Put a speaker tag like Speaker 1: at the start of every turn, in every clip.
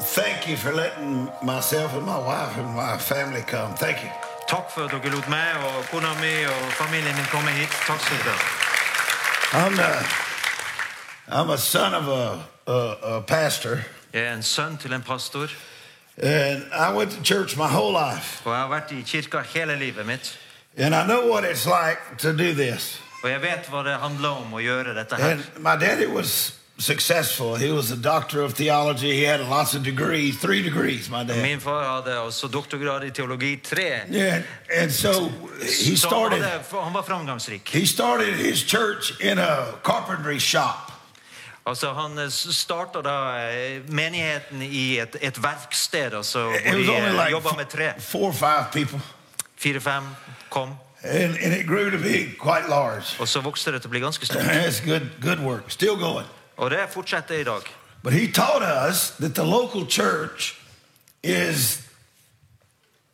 Speaker 1: Thank you for letting myself and my wife and my family come. Thank you.
Speaker 2: Takk for at dere lot meg og kona mi og familien min komme hit. Takk skal dere ha.
Speaker 1: I'm a, I'm a son of a, a, a pastor,
Speaker 2: Jeg er en sønn til en pastor,
Speaker 1: and I went to church my whole life.
Speaker 2: og jeg har vært i kirka hele livet mitt.
Speaker 1: And I know what it's like to do this.
Speaker 2: Og jeg vet hva det handler om å gjøre dette her.
Speaker 1: And my daddy was successful. He was a doctor of theology. He had lots of degrees, three degrees, my dad.
Speaker 2: Min far hadde også doktorgrad i teologi 3.
Speaker 1: Yeah, and so he
Speaker 2: Så han,
Speaker 1: started.
Speaker 2: hadde, han var framgangsrik.
Speaker 1: He started his church in a carpentry shop.
Speaker 2: Altså, han eh, starta da eh, menigheten i et, et verksted, altså,
Speaker 1: It
Speaker 2: hvor
Speaker 1: was
Speaker 2: de
Speaker 1: only
Speaker 2: eh,
Speaker 1: like
Speaker 2: jobba med tre.
Speaker 1: f- four or five people,
Speaker 2: Fire-fem kom,
Speaker 1: and, and it grew to be quite large.
Speaker 2: og så vokste det til å bli ganske stort.
Speaker 1: It's good, good work, still going.
Speaker 2: Og det fortsetter i dag.
Speaker 1: But he taught us that the local church is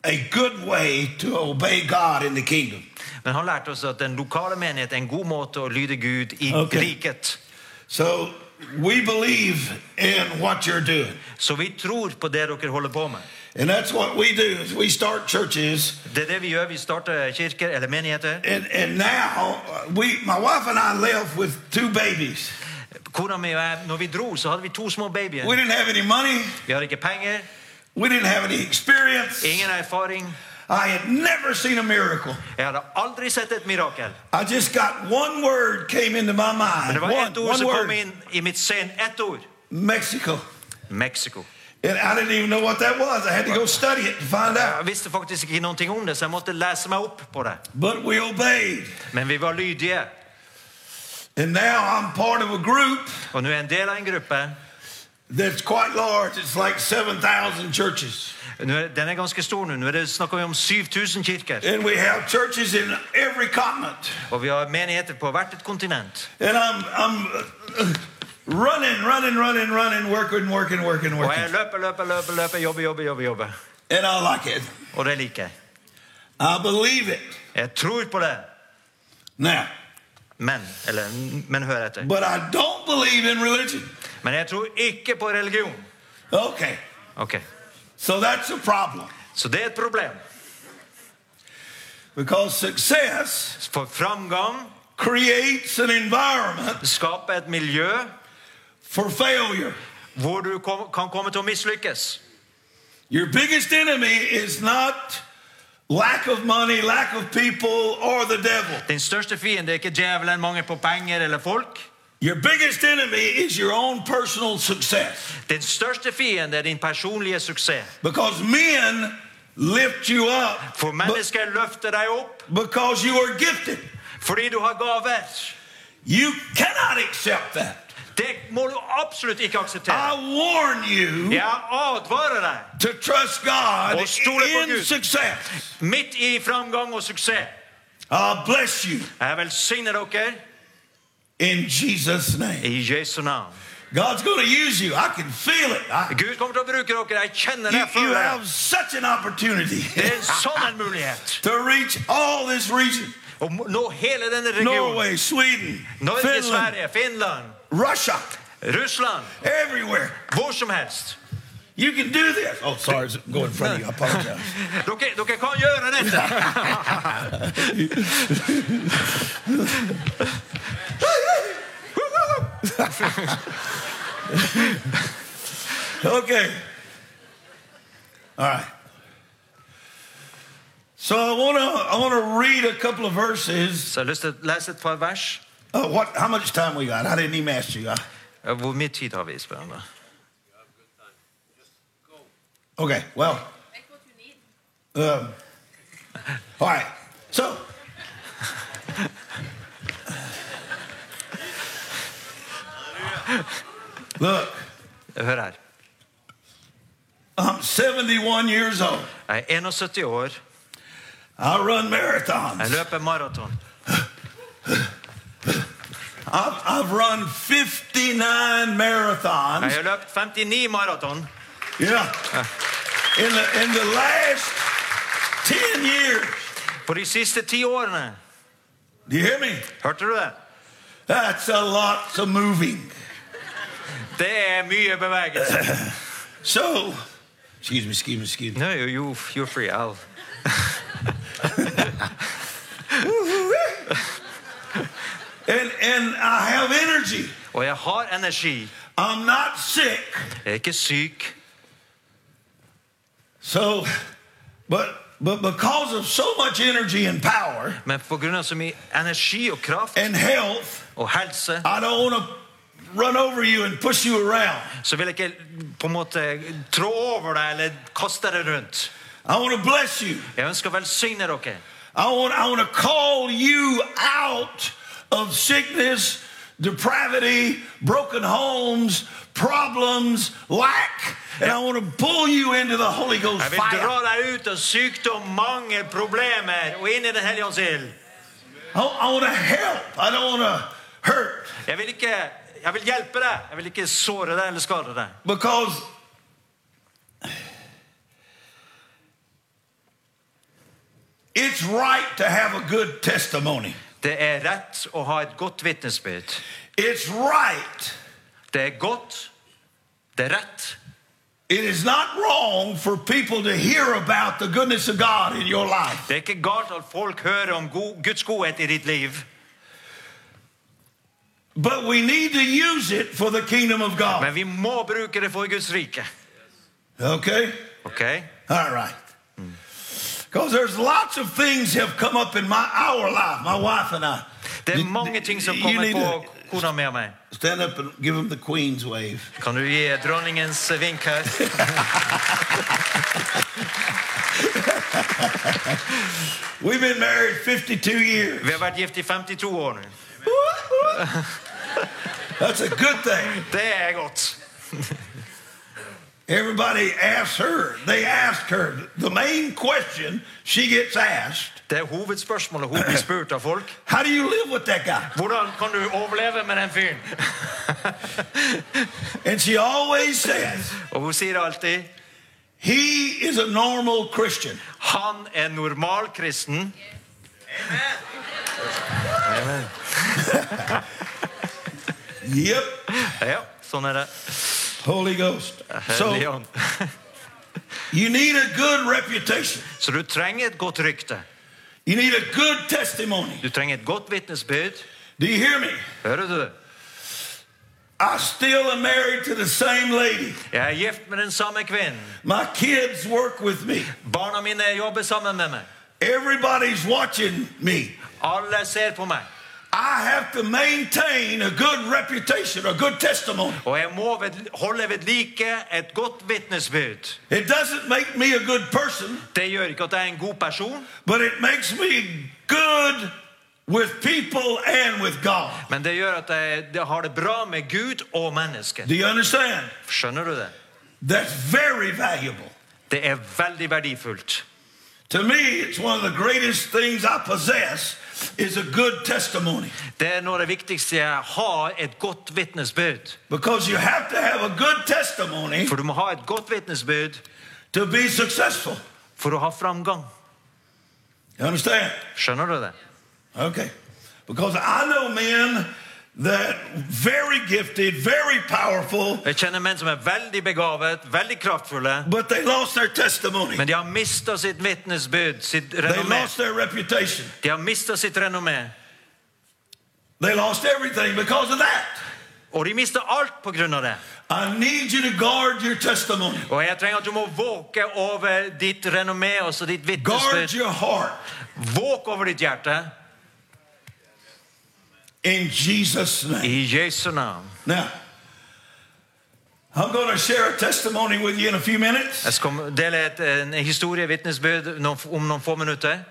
Speaker 1: a good way to obey God in the kingdom.
Speaker 2: Men han lærte oss at den lokale menighet er en god måte å lyde Gud i
Speaker 1: Ok.
Speaker 2: riket.
Speaker 1: So we believe in what you're doing,
Speaker 2: Så vi tror på det dere holder på med.
Speaker 1: and that's what we do. Is we start churches,
Speaker 2: Det er det vi gjør. Vi starter kirker eller menigheter.
Speaker 1: and and now uh, we, my wife and I, left with two babies.
Speaker 2: Kona mi og jeg, når vi dro, så hadde vi to små babyer.
Speaker 1: We didn't have any money.
Speaker 2: Vi hadde ikke penger,
Speaker 1: We didn't have any experience.
Speaker 2: ingen erfaring.
Speaker 1: I had never seen a miracle.
Speaker 2: Jeg hadde aldri sett et mirakel.
Speaker 1: I just got one word came into my
Speaker 2: Men
Speaker 1: mind.
Speaker 2: det var
Speaker 1: One,
Speaker 2: ett ord
Speaker 1: one
Speaker 2: som kom
Speaker 1: word.
Speaker 2: inn i mitt sinn. Ett ord.
Speaker 1: Mexico.
Speaker 2: Mexico.
Speaker 1: And I didn't even know what that was. I had to go study it to find out.
Speaker 2: Jeg visste faktisk ikke noe om det, så jeg måtte lese meg opp på det.
Speaker 1: But we obeyed.
Speaker 2: Men vi var lydige.
Speaker 1: And now I'm part of a group
Speaker 2: Og nå er jeg en del av en gruppe.
Speaker 1: that's quite large. It's like 7,000 churches.
Speaker 2: Nå er, den er ganske stor nå. Nå er det, snakker vi om 7000 kirker.
Speaker 1: And we have churches in every continent.
Speaker 2: Og vi har menigheter på hvert et kontinent.
Speaker 1: And I'm, I'm uh, running, running, running, running, working, working, working,
Speaker 2: Og jeg
Speaker 1: working.
Speaker 2: løper, løper, løper, løper, jobber, jobber, jobber. jobber.
Speaker 1: And I like it.
Speaker 2: Og det liker jeg.
Speaker 1: I believe it.
Speaker 2: Jeg tror på det.
Speaker 1: Now,
Speaker 2: Men, eller, men hør etter.
Speaker 1: But I don't believe in religion.
Speaker 2: Men jeg tror ikke på religion.
Speaker 1: Okay,
Speaker 2: Ok,
Speaker 1: so that's a problem
Speaker 2: Så det er et problem.
Speaker 1: because success
Speaker 2: For framgang
Speaker 1: creates an environment
Speaker 2: skaper et miljø
Speaker 1: for failure.
Speaker 2: hvor du kom, kan komme til å mislykkes.
Speaker 1: Your biggest enemy is not lack of money, lack of people, or the devil.
Speaker 2: Din største fiende er ikke djevelen, mangel på penger eller folk.
Speaker 1: Your biggest enemy is your own personal success
Speaker 2: Din største fiende er din personlige suksess.
Speaker 1: because men lift you up
Speaker 2: For mennesker løfter deg opp
Speaker 1: be- because you are gifted.
Speaker 2: fordi du har gaver.
Speaker 1: You cannot accept that.
Speaker 2: Det må du absolutt ikke akseptere.
Speaker 1: I warn you
Speaker 2: Jeg advarer deg.
Speaker 1: to trust God
Speaker 2: Och stole på
Speaker 1: in
Speaker 2: Gud.
Speaker 1: success.
Speaker 2: Midt i framgang og suksess.
Speaker 1: I bless you
Speaker 2: Jeg velsigner dere
Speaker 1: in Jesus' name.
Speaker 2: i Jesu navn.
Speaker 1: God's going to use you. I can feel it. I,
Speaker 2: Gud kommer til å bruke dere. Jeg kjenner
Speaker 1: you,
Speaker 2: det.
Speaker 1: you
Speaker 2: for deg.
Speaker 1: have such an opportunity
Speaker 2: Det er en sånn en mulighet.
Speaker 1: to reach all this region
Speaker 2: Å nå hele denne regionen.
Speaker 1: Norway, Sweden,
Speaker 2: Norge,
Speaker 1: Finland,
Speaker 2: Sverige, Finland,
Speaker 1: Russia,
Speaker 2: Russland.
Speaker 1: everywhere.
Speaker 2: Hvor som helst.
Speaker 1: You can do this. Oh, sorry, it's going in front of you. I apologize.
Speaker 2: Dere, dere kan gjøre dette.
Speaker 1: Okay. All right. So I want to I want to read a couple of verses.
Speaker 2: Så jeg har lyst til å lese et par vers.
Speaker 1: Uh, what? How much time we got? I didn't even ask you. I,
Speaker 2: Eh, Hvor mye tid har vi? spør han da.
Speaker 1: Okay, well. Um, all right, so. Look,
Speaker 2: Hør her.
Speaker 1: I'm 71 years old.
Speaker 2: Jeg er 71 år.
Speaker 1: I run
Speaker 2: Jeg
Speaker 1: marathons.
Speaker 2: løper maraton.
Speaker 1: I've, I've run 59
Speaker 2: Jeg
Speaker 1: marathons.
Speaker 2: har løpt 59 maraton.
Speaker 1: Yeah. In the, in the last 10 years.
Speaker 2: På de siste ti årene.
Speaker 1: Do you hear me?
Speaker 2: Hørte du det?
Speaker 1: That's a lot of moving.
Speaker 2: Det er mye bevegelse.
Speaker 1: So Excuse me, excuse me, excuse me.
Speaker 2: No, you, you you're free. I'll.
Speaker 1: And, and I have energy.
Speaker 2: Og jeg har energi.
Speaker 1: I'm not sick.
Speaker 2: Jeg er ikke syk.
Speaker 1: So, but, but because of so much energy and power
Speaker 2: Men pga. så mye energi og kraft
Speaker 1: and health,
Speaker 2: og helse,
Speaker 1: I don't want to run over you and push you around.
Speaker 2: så vil jeg ikke på en måte trå over deg eller kaste deg rundt.
Speaker 1: I want to bless you.
Speaker 2: Jeg ønsker å velsigne dere.
Speaker 1: I want, I want to call you out of sickness, depravity, broken homes, problems, lack, and I want to pull you into the Holy Ghost
Speaker 2: Jeg vil dra
Speaker 1: fire.
Speaker 2: deg ut av sykdom, mangel, problemer og inn i Den hellige ånds ild.
Speaker 1: I, I want to help. I don't want to hurt
Speaker 2: Jeg vil ikke jeg vil hjelpe deg. Jeg vil ikke såre deg eller skade deg.
Speaker 1: because it's right to have a good testimony.
Speaker 2: Det er rett å ha et godt vitnesbyrd.
Speaker 1: It's right.
Speaker 2: Det er godt. Det er rett.
Speaker 1: It is not wrong for people to hear about the goodness of God in your life.
Speaker 2: Det er ikke galt at folk hører om go- Guds godhet i ditt liv.
Speaker 1: But we need to use it for the kingdom of God.
Speaker 2: Men vi må bruke det for Guds rike.
Speaker 1: Okay?
Speaker 2: Ok?
Speaker 1: All right. Because there's lots of things have come up in my our life, my wife and I.
Speaker 2: Det
Speaker 1: You-
Speaker 2: er mange ting som
Speaker 1: you
Speaker 2: kommer
Speaker 1: need
Speaker 2: på
Speaker 1: to
Speaker 2: kona mi og meg.
Speaker 1: Stand up and give them the queen's wave.
Speaker 2: Kan du gi dronningens vink her?
Speaker 1: We've been married 52 years.
Speaker 2: Vi har vært gift i 52 år nå.
Speaker 1: That's a good thing.
Speaker 2: Det er godt.
Speaker 1: Everybody asks her. They ask her the main question she gets asked,
Speaker 2: Det er hovedspørsmålet hun blir spurt av folk.
Speaker 1: how do you live with that guy?
Speaker 2: Hvordan kan du overleve med den fyren?
Speaker 1: And she always says,
Speaker 2: Og hun sier alltid
Speaker 1: he is a normal Christian.
Speaker 2: han er normal kristen.
Speaker 1: Yep.
Speaker 2: Ja, sånn er det.
Speaker 1: Holy Ghost.
Speaker 2: Hellig
Speaker 1: So
Speaker 2: ånd.
Speaker 1: you need a good reputation.
Speaker 2: Så du trenger et godt rykte.
Speaker 1: You need a good testimony.
Speaker 2: Du trenger et godt vitnesbyrd.
Speaker 1: Do you hear me?
Speaker 2: Hører du?
Speaker 1: I still am married to the same lady.
Speaker 2: Jeg er gift med den samme kvinnen.
Speaker 1: My kids work with me.
Speaker 2: Barna mine jobber sammen med meg.
Speaker 1: Everybody's watching me.
Speaker 2: Alle ser på meg.
Speaker 1: I have to maintain a good reputation, a good testimony.
Speaker 2: Og jeg må ved, holde ved like et godt vitnesbyrd.
Speaker 1: It doesn't make me a good person,
Speaker 2: Det gjør ikke at jeg er en god person,
Speaker 1: but it makes me good with people and with God.
Speaker 2: men det gjør at jeg, jeg har det bra med Gud og mennesker.
Speaker 1: Do you understand?
Speaker 2: Skjønner du det?
Speaker 1: That's very valuable.
Speaker 2: Det er veldig verdifullt.
Speaker 1: To me, it's one of the greatest things I possess is a good testimony.
Speaker 2: Det er noe av det viktigste jeg har, et godt vitnesbyrd.
Speaker 1: Because you have to have a good testimony
Speaker 2: For du må ha et godt vitnesbyrd
Speaker 1: to be successful.
Speaker 2: for å ha framgang.
Speaker 1: You understand?
Speaker 2: Skjønner du det?
Speaker 1: Okay. Because I know men that very gifted, very powerful,
Speaker 2: Jeg kjenner menn som er veldig begavet, veldig kraftfulle,
Speaker 1: but they lost their testimony.
Speaker 2: men de har mista sitt vitnesbyrd, sitt
Speaker 1: They
Speaker 2: renommé.
Speaker 1: lost their reputation.
Speaker 2: De har mista sitt renommé.
Speaker 1: They lost everything because of that.
Speaker 2: Og de mister alt på grunn av det.
Speaker 1: I need you to guard your testimony.
Speaker 2: Og jeg trenger at du må våke over ditt renommé og så ditt
Speaker 1: Guard
Speaker 2: vitnesbyrd.
Speaker 1: your heart
Speaker 2: Våk over ditt hjerte
Speaker 1: in Jesus' name.
Speaker 2: i Jesu navn.
Speaker 1: Now, I'm going to share a testimony with you in a few minutes.
Speaker 2: Jeg skal dele et, en historie, vitnesbyrd, noen, om noen få minutter.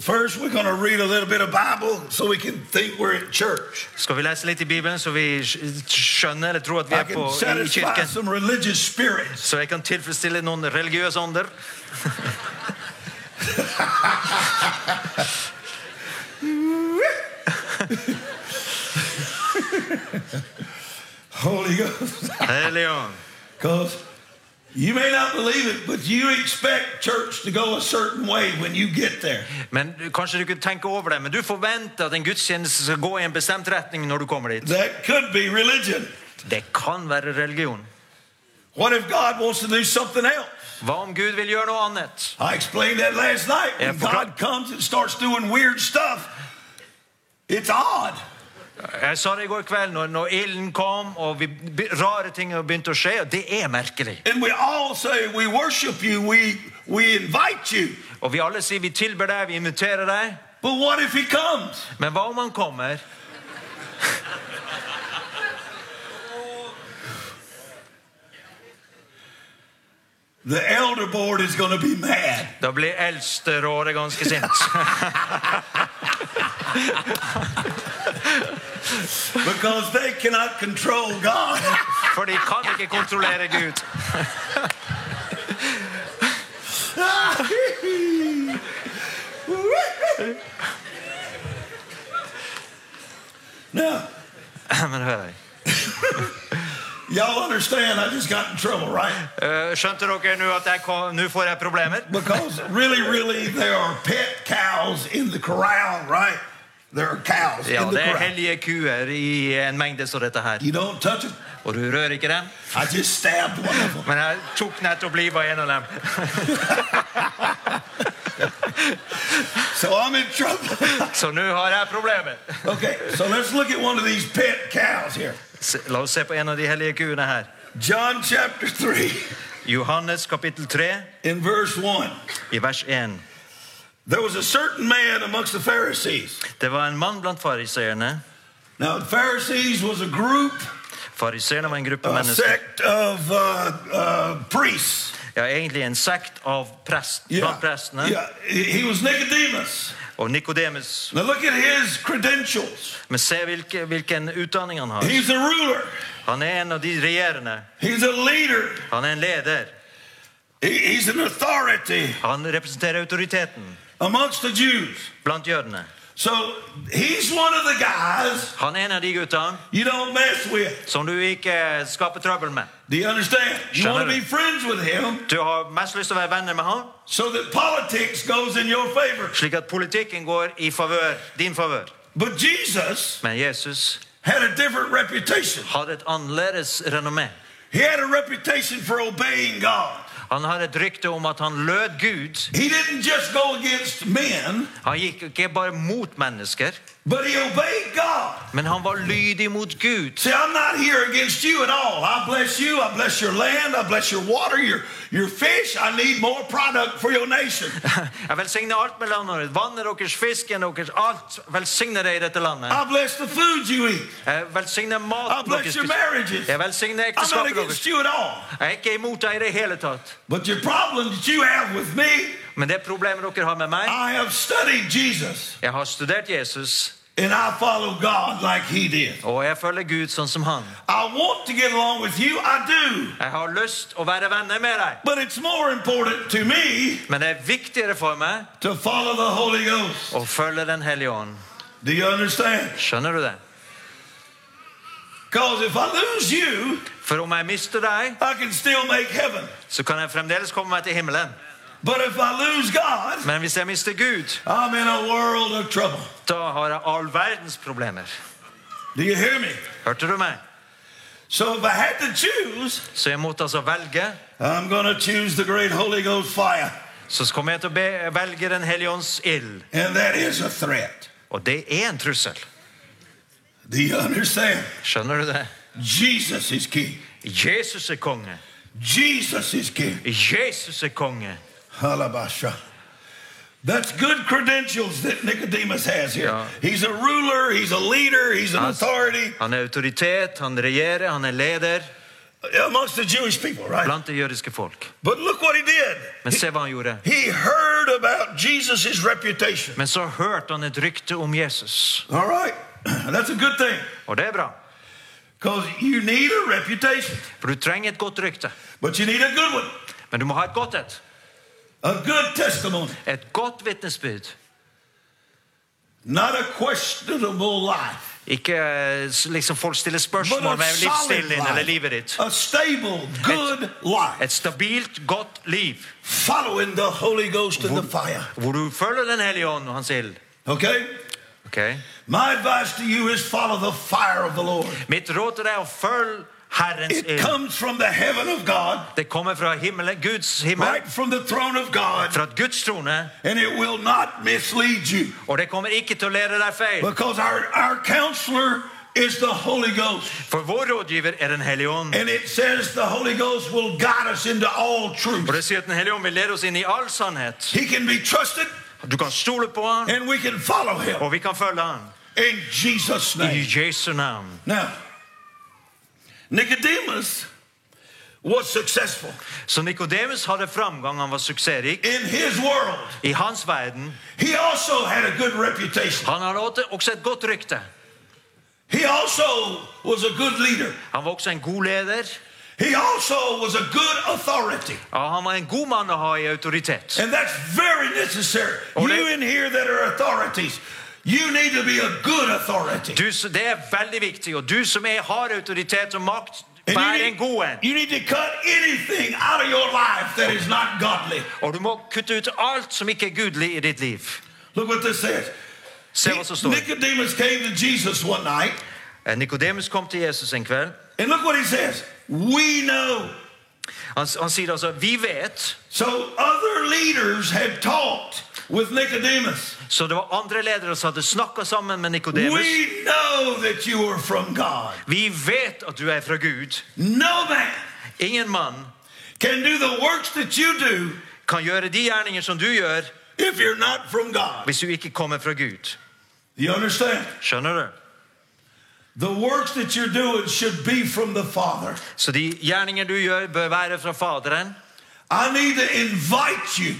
Speaker 1: First, we're going to read a little bit of Bible so we can think we're at church.
Speaker 2: Skal vi lese litt i Bibelen, så vi skj- skjønner eller tror at vi
Speaker 1: I
Speaker 2: er på
Speaker 1: can
Speaker 2: i
Speaker 1: satisfy
Speaker 2: kirken?
Speaker 1: some religious spirits.
Speaker 2: Så jeg kan tilfredsstille noen religiøse ånder.
Speaker 1: Holy Ghost.
Speaker 2: Hellig ånd.
Speaker 1: Because you may not believe it, but you expect church to go a certain way when you get there.
Speaker 2: Men Kanskje du kunne tenke over det, men du forventer at en gudstjeneste skal gå i en bestemt retning når du kommer dit.
Speaker 1: That could be religion.
Speaker 2: Det kan være religion.
Speaker 1: What if God wants to do something else?
Speaker 2: Hva om Gud vil gjøre noe annet?
Speaker 1: I explained that last night. When
Speaker 2: Yeah, for-
Speaker 1: God comes and starts doing weird stuff, it's odd.
Speaker 2: Jeg sa det i går kveld, når, når ilden kom, og vi, be- rare ting begynte å skje. og Det er merkelig.
Speaker 1: And we all say, We worship you, we, we invite you.
Speaker 2: Og vi alle sier vi tilber deg, vi inviterer deg.
Speaker 1: But what if He comes?
Speaker 2: Men hva om han kommer?
Speaker 1: The elder board is going to be mad.
Speaker 2: Da blir eldsterådet ganske sint.
Speaker 1: because they cannot control God.
Speaker 2: For de kan ikke kontrollere Gud.
Speaker 1: now,
Speaker 2: Men hør her.
Speaker 1: y'all understand I just got in trouble, right?
Speaker 2: Eh, Skjønte dere nå at jeg kom- nå får jeg problemer?
Speaker 1: Because really, really, there are pet cows in the corral, right? There are cows
Speaker 2: Ja,
Speaker 1: in the
Speaker 2: det er
Speaker 1: corral.
Speaker 2: hellige kuer i en mengde som dette her.
Speaker 1: you don't touch them.
Speaker 2: Og du rører ikke dem.
Speaker 1: I just stabbed one of them.
Speaker 2: Men jeg tok nettopp livet av en av dem.
Speaker 1: So I'm in trouble.
Speaker 2: Så nå har jeg problemer.
Speaker 1: okay, so let's look at one of these pet cows here.
Speaker 2: Se- La oss se på en av de hellige kuene her.
Speaker 1: John chapter 3,
Speaker 2: Johannes kapittel 3,
Speaker 1: in verse 1.
Speaker 2: i vers 1.
Speaker 1: There was a certain man amongst the Pharisees.
Speaker 2: Det var en mann blant fariseerne.
Speaker 1: Now, the Pharisees was a group
Speaker 2: Fariseerne var en gruppe
Speaker 1: a
Speaker 2: mennesker.
Speaker 1: sect of uh, uh, priests.
Speaker 2: Ja, egentlig en sekt av prest, blant prestene.
Speaker 1: yeah. He he was Nicodemus.
Speaker 2: Og Nikodemus.
Speaker 1: Now look at his credentials.
Speaker 2: Men se hvilke, hvilken utdanning han har.
Speaker 1: He's a ruler.
Speaker 2: Han er en av de regjerende.
Speaker 1: He's a leader.
Speaker 2: Han er en leder.
Speaker 1: He- he's an authority
Speaker 2: Han representerer autoriteten
Speaker 1: amongst the Jews.
Speaker 2: blant jødene.
Speaker 1: So he's one of the guys
Speaker 2: Han er en av de gutta
Speaker 1: you don't mess with.
Speaker 2: som du ikke skaper trøbbel med.
Speaker 1: Do you understand? You
Speaker 2: Sure.
Speaker 1: want to be friends with him
Speaker 2: Du har mest lyst til å være venner med han,
Speaker 1: so that politics goes in your favor.
Speaker 2: slik at politikken går i favør, din favør.
Speaker 1: But Jesus
Speaker 2: Men Jesus
Speaker 1: had a different reputation.
Speaker 2: hadde et annerledes renommé.
Speaker 1: He had a reputation for obeying God.
Speaker 2: Han har et rykte om at han lød Gud.
Speaker 1: He didn't just go against men,
Speaker 2: Han gikk ikke bare mot mennesker,
Speaker 1: But he obeyed God.
Speaker 2: men han var lydig mot Gud.
Speaker 1: See, I'm not here against you at all. I bless you. I bless your land. I bless your water, your, your fish. I need more product for your nation.
Speaker 2: Jeg velsigner alt med landet deres. Vannet deres, fisken deres, alt. Velsigner det i dette landet.
Speaker 1: I bless the food you eat.
Speaker 2: Jeg velsigner
Speaker 1: I
Speaker 2: maten
Speaker 1: bless
Speaker 2: deres.
Speaker 1: your marriages.
Speaker 2: Jeg velsigner
Speaker 1: I'm not
Speaker 2: ekteskapet deres.
Speaker 1: against you at all.
Speaker 2: Jeg er ikke imot deg i det hele tatt.
Speaker 1: But your problem that you have with me,
Speaker 2: Men det problemet dere har med meg
Speaker 1: I have studied Jesus
Speaker 2: Jeg har studert Jesus,
Speaker 1: and I follow God like he did.
Speaker 2: og jeg følger Gud sånn som han.
Speaker 1: I want to get along with you. I do.
Speaker 2: Jeg har lyst å være venner med deg,
Speaker 1: But it's more important to me
Speaker 2: men det er viktigere for meg
Speaker 1: to follow the Holy Ghost.
Speaker 2: å følge Den hellige ånd.
Speaker 1: Do you understand?
Speaker 2: Skjønner du det?
Speaker 1: Because if I lose you,
Speaker 2: For om jeg mister deg,
Speaker 1: I can still make heaven.
Speaker 2: så kan jeg fremdeles komme meg til himmelen.
Speaker 1: But if I lose God,
Speaker 2: Men hvis jeg mister Gud,
Speaker 1: I'm in a world of trouble.
Speaker 2: da har jeg all verdens problemer.
Speaker 1: Do you hear me?
Speaker 2: Hørte du meg?
Speaker 1: So if I had to choose,
Speaker 2: Så jeg måtte altså velge.
Speaker 1: I'm going to choose the great Holy Ghost fire.
Speaker 2: Så kommer jeg til å be, velge Den hellige ånds ild.
Speaker 1: And that is a threat.
Speaker 2: Og det er en trussel.
Speaker 1: Do you understand?
Speaker 2: Skjønner du det?
Speaker 1: Jesus is king.
Speaker 2: Jesus er konge.
Speaker 1: Jesus is king.
Speaker 2: Jesus er konge.
Speaker 1: Halabasha. That's good credentials that Nicodemus has here.
Speaker 2: Yeah.
Speaker 1: He's a ruler, he's a leader, he's an
Speaker 2: That's-
Speaker 1: authority
Speaker 2: Han er autoritet, han regjerer, han er leder
Speaker 1: amongst the Jewish people, right?
Speaker 2: blant det jødiske folk.
Speaker 1: But look what he did.
Speaker 2: Men se hva han gjorde.
Speaker 1: He heard about Jesus' reputation.
Speaker 2: Men så hørte han et rykte om Jesus.
Speaker 1: All right. That's a good thing
Speaker 2: Og det er bra,
Speaker 1: because you need a reputation,
Speaker 2: for du trenger et godt rykte.
Speaker 1: but you need a good one,
Speaker 2: Men du må ha et godt et.
Speaker 1: a good testimony,
Speaker 2: Et godt vitnesbyrd.
Speaker 1: not a questionable life,
Speaker 2: Ikke eh, s- liksom folk stiller
Speaker 1: but
Speaker 2: spørsmål
Speaker 1: a
Speaker 2: ved livsstilen
Speaker 1: solid
Speaker 2: din eller livet ditt.
Speaker 1: life, a stable, good life,
Speaker 2: Et stabilt, godt liv
Speaker 1: following the Holy Ghost in the fire.
Speaker 2: hvor du følger Den hellige ånd og hans ild.
Speaker 1: Okay?
Speaker 2: Ok?
Speaker 1: My advice to you is follow the fire of the Lord.
Speaker 2: Mitt råd til deg er å følge Herrens
Speaker 1: It
Speaker 2: ild.
Speaker 1: comes from the heaven of God,
Speaker 2: Det kommer fra himmelen, Guds himmel,
Speaker 1: right from the throne of God,
Speaker 2: fra Guds trone.
Speaker 1: and it will not mislead you
Speaker 2: Og det kommer ikke til å lære deg feil.
Speaker 1: because our, our counselor is the Holy Ghost.
Speaker 2: For vår rådgiver er Den hellige ånd.
Speaker 1: And it says the Holy Ghost will guide us into all
Speaker 2: Og
Speaker 1: truth.
Speaker 2: det sier at Den hellige ånd vil lede oss inn i all sannhet.
Speaker 1: He can be trusted
Speaker 2: Du kan stole på han,
Speaker 1: and we can follow him
Speaker 2: og vi kan følge han.
Speaker 1: in Jesus'
Speaker 2: I
Speaker 1: name.
Speaker 2: Jesu navn.
Speaker 1: Now, Nicodemus was successful
Speaker 2: Så Nikodemus hadde framgang, han var suksessrik.
Speaker 1: in his world.
Speaker 2: I hans verden.
Speaker 1: He also had a good reputation.
Speaker 2: Han hadde også- også et godt rykte.
Speaker 1: He also was a good leader.
Speaker 2: Han var også en god leder.
Speaker 1: He also was a good authority.
Speaker 2: Ja, han var en god mann å ha i autoritet.
Speaker 1: And that's very necessary.
Speaker 2: Oh,
Speaker 1: you
Speaker 2: they-
Speaker 1: in here that are authorities, you need to be a good authority.
Speaker 2: Du, s- det er veldig viktig. Og du som er, har autoritet og makt,
Speaker 1: And
Speaker 2: vær
Speaker 1: you,
Speaker 2: en god en.
Speaker 1: need, you need to cut anything out of your life that is not godly.
Speaker 2: Og du må kutte ut alt som ikke er gudelig i ditt liv.
Speaker 1: Look what this says.
Speaker 2: Se hva som står.
Speaker 1: Nicodemus came to Jesus one night,
Speaker 2: Eh, Nikodemus kom til Jesus en kveld.
Speaker 1: and look what he says. We know.
Speaker 2: Han, s- han sier altså Vi vet.
Speaker 1: So other leaders had talked with Nicodemus.
Speaker 2: Så det var andre ledere som hadde snakka sammen med Nikodemus.
Speaker 1: We know that you are from God.
Speaker 2: Vi vet at du er fra Gud.
Speaker 1: No man
Speaker 2: Ingen mann
Speaker 1: can do the works that you do
Speaker 2: kan gjøre de gjerninger som du gjør,
Speaker 1: if you're not from God.
Speaker 2: hvis du ikke kommer fra Gud.
Speaker 1: You understand?
Speaker 2: Skjønner du?
Speaker 1: The works that you're doing should be from the Father.
Speaker 2: Så de gjerninger du gjør, bør være fra Faderen.
Speaker 1: I need to invite you.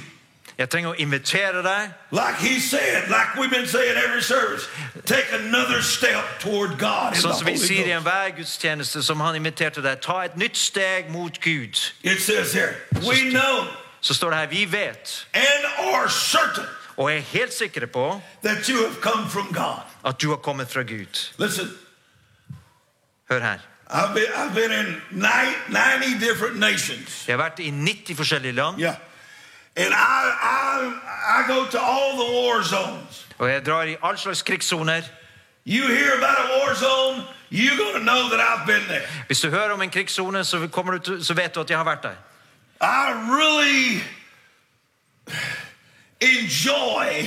Speaker 2: Jeg trenger å invitere deg.
Speaker 1: Like he said, like we've been saying every service, take another step toward God. in the
Speaker 2: Sånn som vi
Speaker 1: Holy
Speaker 2: sier i
Speaker 1: Ghost.
Speaker 2: enhver gudstjeneste som han inviterte deg. Ta et nytt steg mot Gud.
Speaker 1: It says here, we know
Speaker 2: Så står det her Vi vet
Speaker 1: and are certain
Speaker 2: og er helt sikre på
Speaker 1: that you have come from God.
Speaker 2: at du har kommet fra Gud.
Speaker 1: Listen,
Speaker 2: Hør her.
Speaker 1: I've been, I've been in ni- 90 different nations.
Speaker 2: Jeg har vært i 90 forskjellige land,
Speaker 1: Yeah. And I, I, I go to all the war zones.
Speaker 2: og jeg drar i all slags krigssoner.
Speaker 1: You hear about a war zone, you're going to know that I've been there.
Speaker 2: Hvis du hører om en krigssone, så, kommer du til, så vet du at jeg har vært der.
Speaker 1: I really enjoy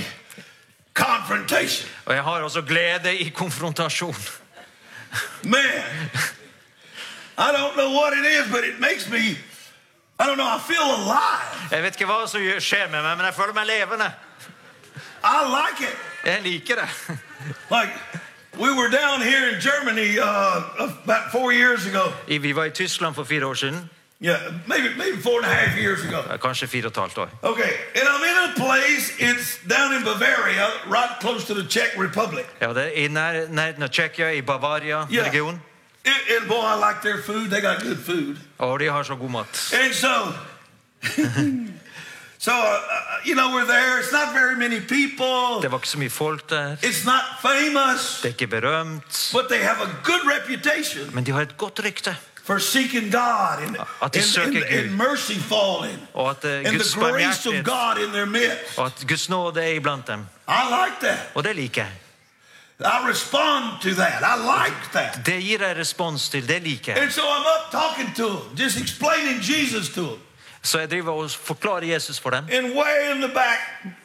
Speaker 1: confrontation.
Speaker 2: Og jeg har også glede i konfrontasjon.
Speaker 1: Man, I don't know what it is, but it makes me, I don't know, I feel alive.
Speaker 2: Jeg vet ikke hva som gjør- skjer med meg, men jeg føler meg levende.
Speaker 1: I like it.
Speaker 2: Jeg liker det.
Speaker 1: Like, we were down here in Germany uh, about four years ago.
Speaker 2: I- Vi var i Tyskland for fire år siden.
Speaker 1: Yeah, maybe, maybe four and a half years ago.
Speaker 2: Ja, Kanskje fire og et halvt år.
Speaker 1: Okay, and I'm in a place, it's down in Bavaria, right close to the Czech Republic.
Speaker 2: Ja, det er I nær, nærheten av Tsjekkia, i Bavaria
Speaker 1: Yeah.
Speaker 2: region.
Speaker 1: And, and boy, I like their food, they got good food.
Speaker 2: Og de har så god mat.
Speaker 1: And so, so uh, uh, you know, we're there. It's not very many people.
Speaker 2: Det var ikke så mye folk der.
Speaker 1: It's not famous,
Speaker 2: Det er ikke berømt.
Speaker 1: but they have a good reputation
Speaker 2: Men de har et godt rykte.
Speaker 1: for seeking God and,
Speaker 2: Att de
Speaker 1: and, and,
Speaker 2: söker Gud.
Speaker 1: and mercy falling
Speaker 2: Och att, eh,
Speaker 1: and
Speaker 2: Guds
Speaker 1: the grace
Speaker 2: barmhärtighet.
Speaker 1: of God in their midst.
Speaker 2: Og at Guds nåde er iblant dem.
Speaker 1: I like that.
Speaker 2: Og det liker jeg.
Speaker 1: I respond to that. I like that.
Speaker 2: Det gir jeg respons til. Det liker jeg.
Speaker 1: And so I'm up talking to them, just explaining Jesus to them.
Speaker 2: Så jeg driver og forklarer Jesus for dem.
Speaker 1: And way in the back,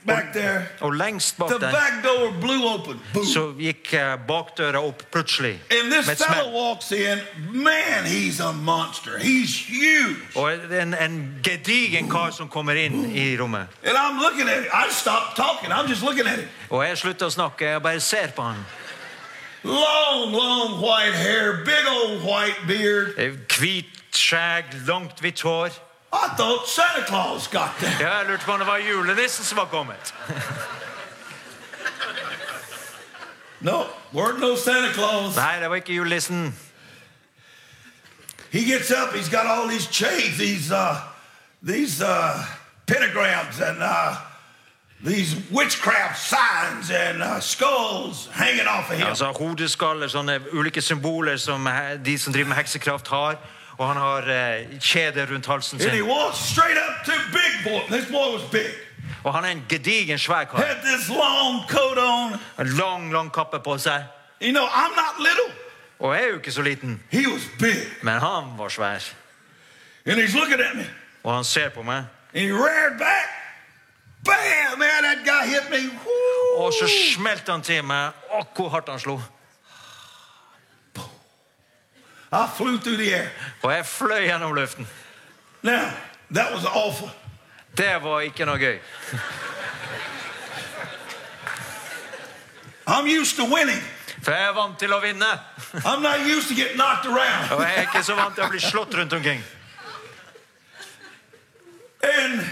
Speaker 1: back there,
Speaker 2: Og lengst bak
Speaker 1: the
Speaker 2: der
Speaker 1: back door blew open. Boom.
Speaker 2: så gikk eh, bakdøra opp plutselig.
Speaker 1: And this
Speaker 2: Med et
Speaker 1: fellow
Speaker 2: smell.
Speaker 1: walks in. Man, he's a monster. He's huge.
Speaker 2: Og en, en gedigen kar som kommer inn i rommet.
Speaker 1: And I'm looking at him. I stopped talking. I'm just looking at him.
Speaker 2: Og jeg slutter å snakke. Jeg bare ser på han.
Speaker 1: Long, long white hair, big old white beard.
Speaker 2: Eh, Hvit skjegg, langt hvitt hår.
Speaker 1: I thought Santa Claus got that.
Speaker 2: Ja, jeg lurte på om det var julenissen som var kommet.
Speaker 1: No, weren't no Santa Claus.
Speaker 2: Nei, det var ikke julenissen.
Speaker 1: He gets up. He's got all these chains, these uh, these uh, pentagrams, and uh, these witchcraft signs and uh, skulls hanging off of him.
Speaker 2: Altså hodeskaller, sånne ulike symboler som he- de som driver med heksekraft har. Og han har eh, kjeder rundt halsen
Speaker 1: And he
Speaker 2: sin.
Speaker 1: walks straight up to Big Boy. This boy was big.
Speaker 2: Og han er en gedigen svær kar.
Speaker 1: Had this long coat on.
Speaker 2: En lang, lang kappe på seg.
Speaker 1: You know, I'm not little.
Speaker 2: Og jeg er jo ikke så liten,
Speaker 1: He was big.
Speaker 2: men han var svær.
Speaker 1: And he's looking at me.
Speaker 2: Og han ser på meg,
Speaker 1: And he reared back. Bam! Man, that guy hit me. Woo!
Speaker 2: og så smelte han til meg. Å, hvor hardt han slo.
Speaker 1: I flew through the air.
Speaker 2: Og jeg fløy gjennom luften.
Speaker 1: Now, that was awful.
Speaker 2: Det var ikke noe gøy.
Speaker 1: I'm used to winning.
Speaker 2: For jeg er vant til å vinne.
Speaker 1: I'm not used to getting knocked
Speaker 2: Og
Speaker 1: around.
Speaker 2: jeg er ikke så vant til å bli slått rundt omkring.
Speaker 1: And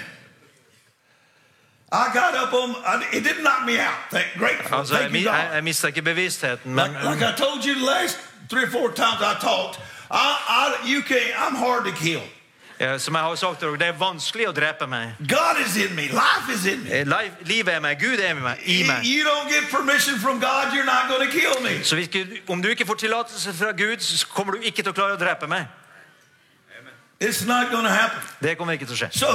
Speaker 1: I got up on, I, it didn't knock me out. Thank, grateful.
Speaker 2: Altså, jeg,
Speaker 1: Thank
Speaker 2: mi-
Speaker 1: you,
Speaker 2: jeg,
Speaker 1: God.
Speaker 2: jeg mista ikke bevisstheten,
Speaker 1: Like,
Speaker 2: men
Speaker 1: like I told you the last three or four times I talked, I, I, you can't, I'm hard to kill.
Speaker 2: eh, som jeg har sagt til dere, det er vanskelig å drepe meg.
Speaker 1: God is in me. Life is in me.
Speaker 2: Eh, liv- Livet er meg. Gud er med meg, i meg.
Speaker 1: You don't get permission from God, you're not going to kill me.
Speaker 2: Så hvis ikke, om du ikke får tillatelse fra Gud, så kommer du ikke til å klare å drepe meg.
Speaker 1: It's not going to happen.
Speaker 2: Det kommer ikke til å skje.
Speaker 1: So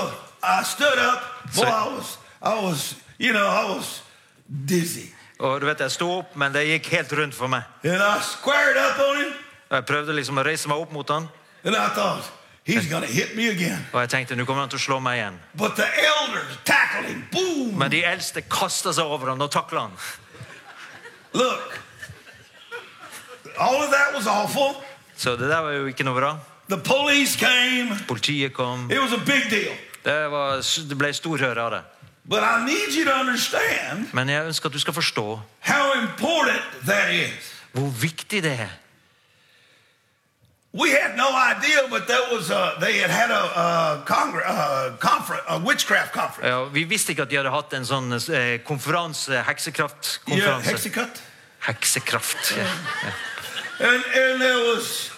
Speaker 1: I stood up. Boy,
Speaker 2: So-
Speaker 1: I was, I was, you know, I was dizzy.
Speaker 2: Og du vet, Jeg sto opp, men det gikk helt rundt for meg.
Speaker 1: And I squared up on him,
Speaker 2: Og Jeg prøvde liksom å reise meg opp mot han,
Speaker 1: and I thought, he's going to hit me again.
Speaker 2: og jeg tenkte nå kommer han til å slå meg igjen.
Speaker 1: But the elders tackled him. Boom.
Speaker 2: Men de eldste kasta seg over han og takla han.
Speaker 1: Look, all of that was awful.
Speaker 2: Så det der var jo ikke noe bra.
Speaker 1: The police came.
Speaker 2: Politiet kom.
Speaker 1: It was a big deal.
Speaker 2: Det, var, det ble storhør av det.
Speaker 1: But I need you to understand
Speaker 2: Men jeg ønsker at du skal forstå
Speaker 1: how important that is.
Speaker 2: hvor viktig det er.
Speaker 1: We had no idea, but that was uh, they had had a, uh congr- uh, conference, a witchcraft conference.
Speaker 2: Ja, vi visste ikke at de hadde hatt en sånn eh, konferanse,
Speaker 1: Yeah,
Speaker 2: heksekraftkonferanse.
Speaker 1: Hexacut.
Speaker 2: Heksekraft. Ja.
Speaker 1: And and there was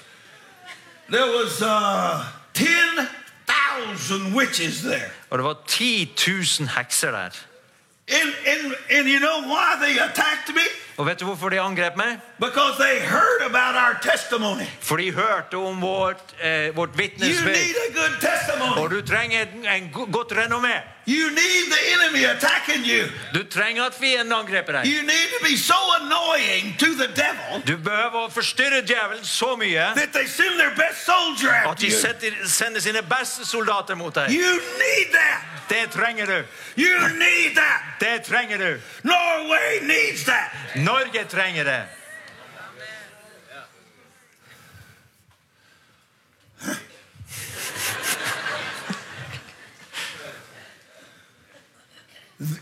Speaker 1: there was uh, ten thousand witches there.
Speaker 2: Og det var 10 000 hekser der.
Speaker 1: And and and you know why they attacked me?
Speaker 2: Og vet du hvorfor de angrep meg?
Speaker 1: Because they heard about our testimony.
Speaker 2: For de hørte om vårt, eh, vårt
Speaker 1: You need
Speaker 2: vitnesbyrd.
Speaker 1: a good
Speaker 2: Og
Speaker 1: testimony.
Speaker 2: du trenger en, en go- godt renommé.
Speaker 1: You need the enemy attacking you.
Speaker 2: Du trenger at fienden angriper deg.
Speaker 1: You need to be so annoying to the devil
Speaker 2: Du behøver å forstyrre djevelen så mye
Speaker 1: that they send their best soldier
Speaker 2: at
Speaker 1: after
Speaker 2: de
Speaker 1: you.
Speaker 2: setter, sender sine beste soldater mot deg.
Speaker 1: You need that.
Speaker 2: Det trenger du.
Speaker 1: You need that.
Speaker 2: Det trenger du.
Speaker 1: Norway needs that.
Speaker 2: Norge trenger det.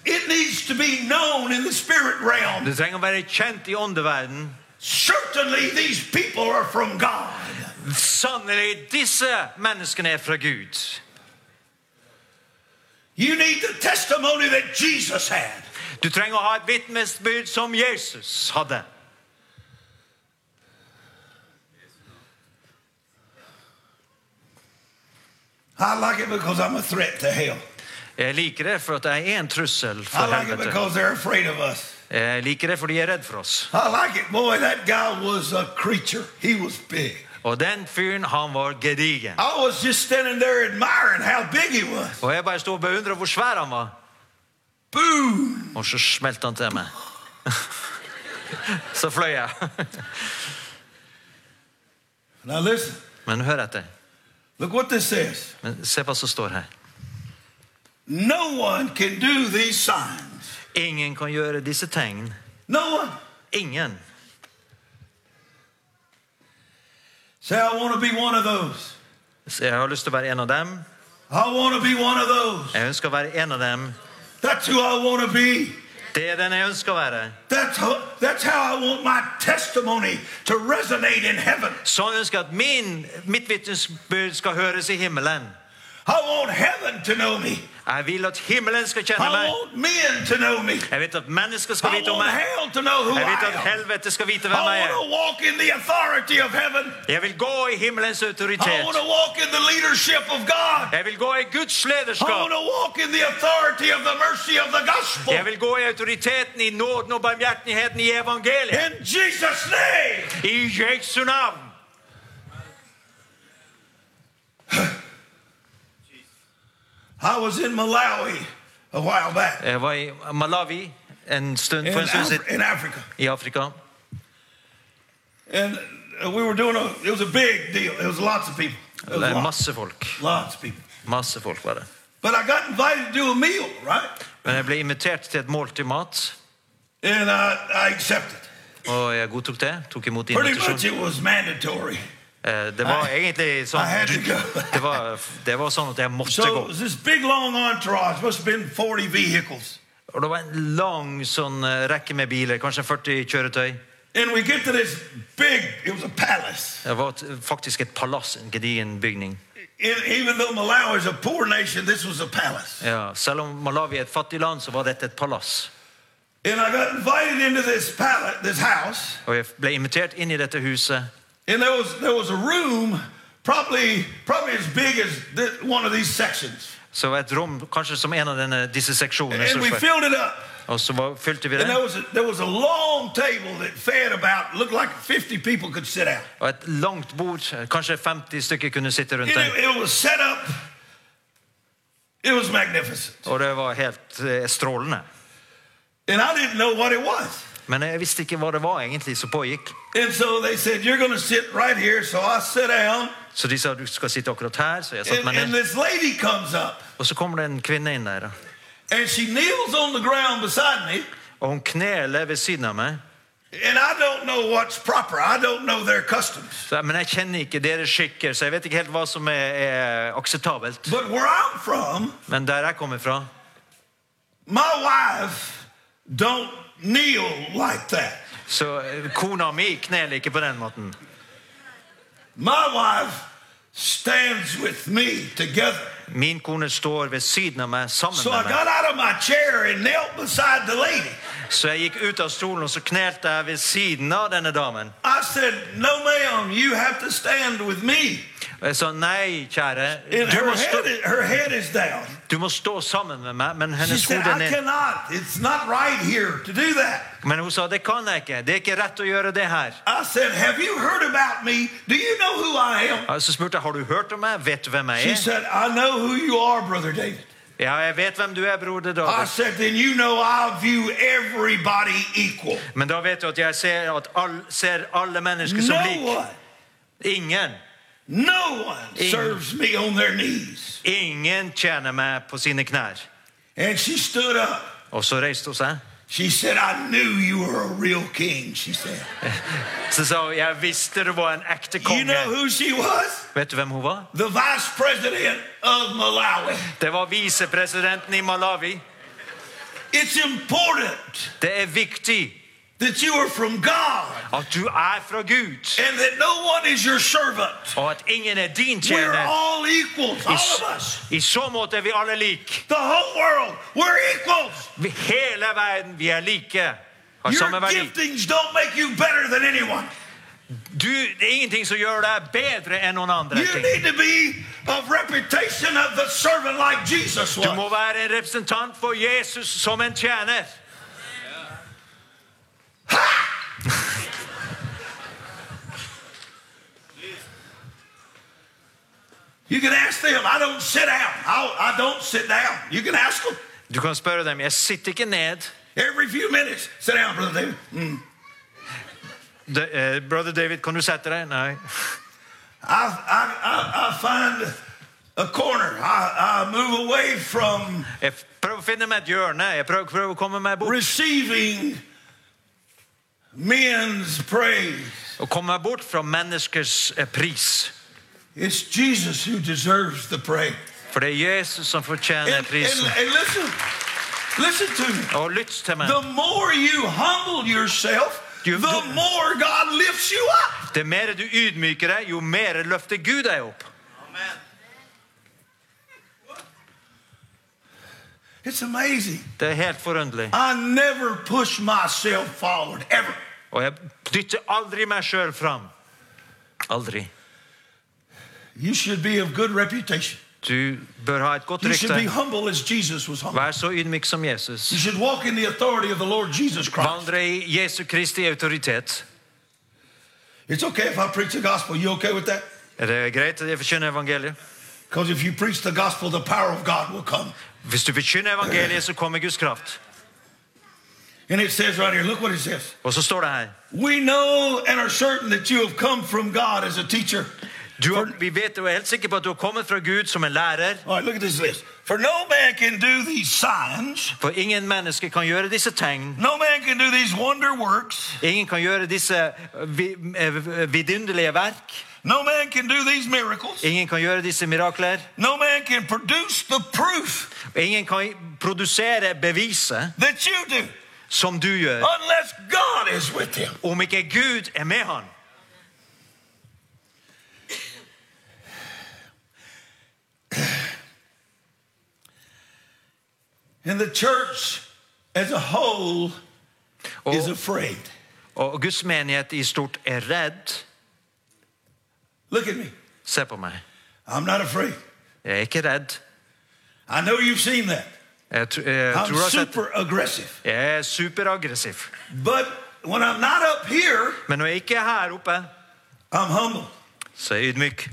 Speaker 1: It needs to be known in the spirit realm.
Speaker 2: Du trenger å være kjent i åndeverden.
Speaker 1: Certainly, these people are from God.
Speaker 2: Sannelig, disse menneskene er fra Gud.
Speaker 1: You need the testimony that Jesus had.
Speaker 2: Du trenger å ha et vitnesbyrd som Jesus hadde.
Speaker 1: I like it because I'm a threat to hell.
Speaker 2: Jeg liker det for at jeg er en trussel
Speaker 1: I
Speaker 2: for
Speaker 1: like it
Speaker 2: helvete.
Speaker 1: because they're afraid of us.
Speaker 2: Jeg liker det fordi jeg er redd for oss.
Speaker 1: I like it. Boy, that guy was a creature. He was big.
Speaker 2: Og den fyren, han var gedigen.
Speaker 1: I was just standing there admiring how big he was.
Speaker 2: Og jeg bare sto og beundra hvor svær han var.
Speaker 1: Boom.
Speaker 2: Og så smelte han til meg. Så fløy jeg.
Speaker 1: Now, listen.
Speaker 2: Men hør etter.
Speaker 1: Look what this says.
Speaker 2: Men se hva som står her.
Speaker 1: No one can do these signs.
Speaker 2: Ingen kan gjøre disse tegn.
Speaker 1: No one.
Speaker 2: Ingen.
Speaker 1: Say, I want to be one of those.
Speaker 2: Så jeg har lyst til å være en av dem.
Speaker 1: I want to be one of those.
Speaker 2: Jeg ønsker å være en av dem.
Speaker 1: That's who I want to be.
Speaker 2: Det er den jeg ønsker å være.
Speaker 1: That's how, that's how I want my testimony to resonate in heaven.
Speaker 2: Sånn ønsker jeg at min, mitt vitnesbyrd skal høres i himmelen.
Speaker 1: I want heaven to know me.
Speaker 2: Jeg vil at himmelen skal kjenne
Speaker 1: I
Speaker 2: meg.
Speaker 1: want men to know me.
Speaker 2: Jeg vet at mennesker skal
Speaker 1: I
Speaker 2: vite om
Speaker 1: want
Speaker 2: meg.
Speaker 1: hell to know who
Speaker 2: Jeg vet
Speaker 1: I
Speaker 2: at
Speaker 1: am.
Speaker 2: helvete skal vite hvem jeg
Speaker 1: I
Speaker 2: er.
Speaker 1: want to walk in the authority of heaven.
Speaker 2: Jeg vil gå i himmelens
Speaker 1: I
Speaker 2: autoritet.
Speaker 1: want to walk in the leadership of God.
Speaker 2: Jeg vil gå i Guds
Speaker 1: I want
Speaker 2: lederskap.
Speaker 1: to walk in the authority of the mercy of the gospel.
Speaker 2: Jeg vil gå i autoriteten, i nåden og barmhjertigheten i evangeliet.
Speaker 1: In Jesus' name.
Speaker 2: I Jesu navn.
Speaker 1: I was in Malawi a while back
Speaker 2: Jeg var i Malawi en stund,
Speaker 1: in,
Speaker 2: for en stund
Speaker 1: Af-
Speaker 2: siden,
Speaker 1: in Africa.
Speaker 2: i Afrika.
Speaker 1: And uh, we were doing a, it was a big deal. It was lots of people. It was
Speaker 2: Det er
Speaker 1: lots,
Speaker 2: masse folk.
Speaker 1: lots of people.
Speaker 2: Masse folk var det.
Speaker 1: But I got invited to do a meal, right?
Speaker 2: Men jeg ble invitert til et måltid mat,
Speaker 1: And I, I accepted.
Speaker 2: og jeg godtok det. Tok imot
Speaker 1: Pretty much
Speaker 2: invitasjonen.
Speaker 1: it was mandatory.
Speaker 2: Eh, Det var egentlig
Speaker 1: I had
Speaker 2: sånn
Speaker 1: to go.
Speaker 2: det var, det var sånn at jeg måtte
Speaker 1: So
Speaker 2: gå.
Speaker 1: it was this big long entourage, must have been 40 vehicles.
Speaker 2: Og det var en lang sånn eh, rekke med biler, kanskje 40 kjøretøy.
Speaker 1: And we get to this big, it was a palace.
Speaker 2: Det var et- faktisk et palass, en gedigen bygning.
Speaker 1: E- even though Malawi is a poor nation, this was a palace.
Speaker 2: Ja, selv om Malawi er et fattig land, så var dette et palass.
Speaker 1: And I got invited into this palace, this house,
Speaker 2: Og jeg ble invitert inn i dette huset.
Speaker 1: and there was there was a room, probably probably as big as this, one of these sections,
Speaker 2: Så var det et rom kanskje som en av denne, disse seksjonene.
Speaker 1: and
Speaker 2: som
Speaker 1: we
Speaker 2: var-
Speaker 1: filled it up.
Speaker 2: Og så var, fylte vi
Speaker 1: And there
Speaker 2: det.
Speaker 1: was a, there was a long table that fed about looked like 50 people could sit out.
Speaker 2: Og et langt bord, eh, kanskje 50 stykker kunne sitte rundt
Speaker 1: And
Speaker 2: den.
Speaker 1: it, it was set up. It was magnificent,
Speaker 2: Og det var helt eh, strålende.
Speaker 1: and I didn't know what it was.
Speaker 2: Men jeg visste ikke hva det var egentlig som pågikk.
Speaker 1: And so they said, "You're going to sit right here." So I sit down,
Speaker 2: Så de sa du skal sitte akkurat her. Så jeg satte
Speaker 1: and,
Speaker 2: meg
Speaker 1: and
Speaker 2: ned.
Speaker 1: this lady comes up,
Speaker 2: Og så kommer det en kvinne inn der.
Speaker 1: and she kneels on the ground beside me.
Speaker 2: Og hun kneler ved siden av meg.
Speaker 1: And I don't know what's proper. I don't know their customs.
Speaker 2: Så, jeg- men jeg kjenner ikke deres skikker, så jeg vet ikke helt hva som er, er akseptabelt.
Speaker 1: But where I'm from,
Speaker 2: Men der jeg kommer fra,
Speaker 1: my wife don't kneel like that.
Speaker 2: så eh, kona mi kneler ikke på den måten.
Speaker 1: My wife stands with me together.
Speaker 2: Min kone står ved siden av meg sammen
Speaker 1: So I
Speaker 2: med meg.
Speaker 1: got out of my chair and knelt beside the lady.
Speaker 2: Så jeg gikk ut av stolen, og så knelte jeg ved siden av denne damen.
Speaker 1: I said, "No, ma'am, you have to stand with me."
Speaker 2: Og jeg sa nei, kjære,
Speaker 1: And
Speaker 2: du
Speaker 1: her
Speaker 2: må stå,
Speaker 1: head, is, her head is down.
Speaker 2: du må stå sammen med meg. Men
Speaker 1: She
Speaker 2: hennes
Speaker 1: said,
Speaker 2: hode er
Speaker 1: "I
Speaker 2: ned.
Speaker 1: cannot. It's not right here to do that."
Speaker 2: Men hun sa det kan jeg ikke. Det er ikke rett å gjøre det her.
Speaker 1: I said, "Have you heard about me? Do you know who I am?"
Speaker 2: Og Så spurte jeg har du hørt om meg. Vet du hvem jeg
Speaker 1: She
Speaker 2: er?
Speaker 1: said, "I know who you are, brother David."
Speaker 2: Ja, jeg vet hvem du er, broder
Speaker 1: I
Speaker 2: David.
Speaker 1: said, then you know I view everybody equal.
Speaker 2: Men da vet du at jeg ser, at all, ser alle mennesker som
Speaker 1: No
Speaker 2: lik.
Speaker 1: one,
Speaker 2: Ingen.
Speaker 1: no one
Speaker 2: Ingen.
Speaker 1: serves me on their knees.
Speaker 2: Ingen tjener meg på sine knær.
Speaker 1: And she stood up.
Speaker 2: Og så reiste hun seg.
Speaker 1: She said, I knew you were a real king, she said.
Speaker 2: Så sa hun jeg visste du var en ekte
Speaker 1: You know
Speaker 2: konge.
Speaker 1: who she was?
Speaker 2: Vet du hvem hun var?
Speaker 1: The vice president of Malawi.
Speaker 2: Det var visepresidenten i Malawi.
Speaker 1: It's important
Speaker 2: Det er viktig
Speaker 1: that you are from God
Speaker 2: at du er fra Gud,
Speaker 1: and that no one is your servant.
Speaker 2: og at ingen er din
Speaker 1: We're
Speaker 2: tjener.
Speaker 1: all equals, all
Speaker 2: I, s-
Speaker 1: of us.
Speaker 2: I så måte er vi alle like.
Speaker 1: The whole world, we're equals.
Speaker 2: Vi, hele verden, vi er like. Har
Speaker 1: Your
Speaker 2: samme verdi.
Speaker 1: giftings don't make you better than anyone.
Speaker 2: Du, det er ingenting som gjør deg bedre enn noen andre.
Speaker 1: You
Speaker 2: ting.
Speaker 1: need to be of reputation of the servant like Jesus
Speaker 2: Du må
Speaker 1: was.
Speaker 2: være en representant for Jesus som en tjener.
Speaker 1: You can ask them. I don't sit down. I, I don't sit down. You can ask them
Speaker 2: Du kan spørre dem. Jeg sitter ikke ned.
Speaker 1: every few minutes. Sit down, brother David. Mm.
Speaker 2: De, eh, Brother David, kan du sette deg?
Speaker 1: I,
Speaker 2: Nei.
Speaker 1: I, I, I find a corner. I, I move away from
Speaker 2: Jeg f- prøver å finne meg et hjørne. Jeg prøver, prøver å komme meg bort.
Speaker 1: receiving men's praise.
Speaker 2: Å komme meg bort fra menneskers eh, pris.
Speaker 1: It's Jesus who deserves the praise.
Speaker 2: For det er Jesus som fortjener
Speaker 1: And, and,
Speaker 2: prisen.
Speaker 1: and listen, listen to me.
Speaker 2: Og lytt til meg.
Speaker 1: The more you humble yourself,
Speaker 2: You-
Speaker 1: the more God lifts you up.
Speaker 2: Det mer du ydmyker deg, jo mer løfter Gud deg opp.
Speaker 1: It's amazing.
Speaker 2: Det er helt forunderlig.
Speaker 1: I never push myself forward, ever.
Speaker 2: Og jeg dytter aldri meg sjøl fram. Aldri.
Speaker 1: You should be of good reputation.
Speaker 2: Du bør ha et godt
Speaker 1: You should be
Speaker 2: rykte.
Speaker 1: humble as Jesus was humble.
Speaker 2: Vær så ydmyk som Jesus.
Speaker 1: You should walk in the authority of the Lord Jesus Christ.
Speaker 2: Vandre i Jesu Kristi autoritet.
Speaker 1: It's okay if I preach the gospel. You okay with that?
Speaker 2: Er det greit at jeg forkynner evangeliet?
Speaker 1: Because if you preach the gospel, the power of God will come.
Speaker 2: Hvis du forkynner evangeliet, så kommer Guds kraft.
Speaker 1: And it says right here, look what it says.
Speaker 2: Og så står det her
Speaker 1: We know and are certain that you have come from God as a teacher.
Speaker 2: du, har- Vi vet og er helt sikre på at du har kommet fra Gud som en lærer.
Speaker 1: All right, look at this list. For no man can do these signs,
Speaker 2: For ingen mennesker kan gjøre disse tegn.
Speaker 1: no man can do these wonder works,
Speaker 2: Ingen kan gjøre disse vi- eh, vidunderlige verk.
Speaker 1: no man can do these miracles,
Speaker 2: Ingen kan gjøre disse mirakler.
Speaker 1: no man can produce the proof
Speaker 2: Og ingen kan produsere beviset
Speaker 1: that you do
Speaker 2: som du gjør,
Speaker 1: unless God is with him.
Speaker 2: om ikke Gud er med han.
Speaker 1: And the church as a whole is
Speaker 2: Og,
Speaker 1: afraid.
Speaker 2: og Guds menighet i stort er redd.
Speaker 1: Look at me.
Speaker 2: Se på meg.
Speaker 1: I'm not afraid.
Speaker 2: Jeg er ikke redd.
Speaker 1: I know you've seen that.
Speaker 2: Jeg, tr jeg
Speaker 1: I'm
Speaker 2: tror jeg har sett
Speaker 1: super aggressive.
Speaker 2: Jeg er superaggressiv.
Speaker 1: But when I'm not up here,
Speaker 2: Men når jeg ikke er her oppe,
Speaker 1: I'm humble.
Speaker 2: så er jeg ydmyk.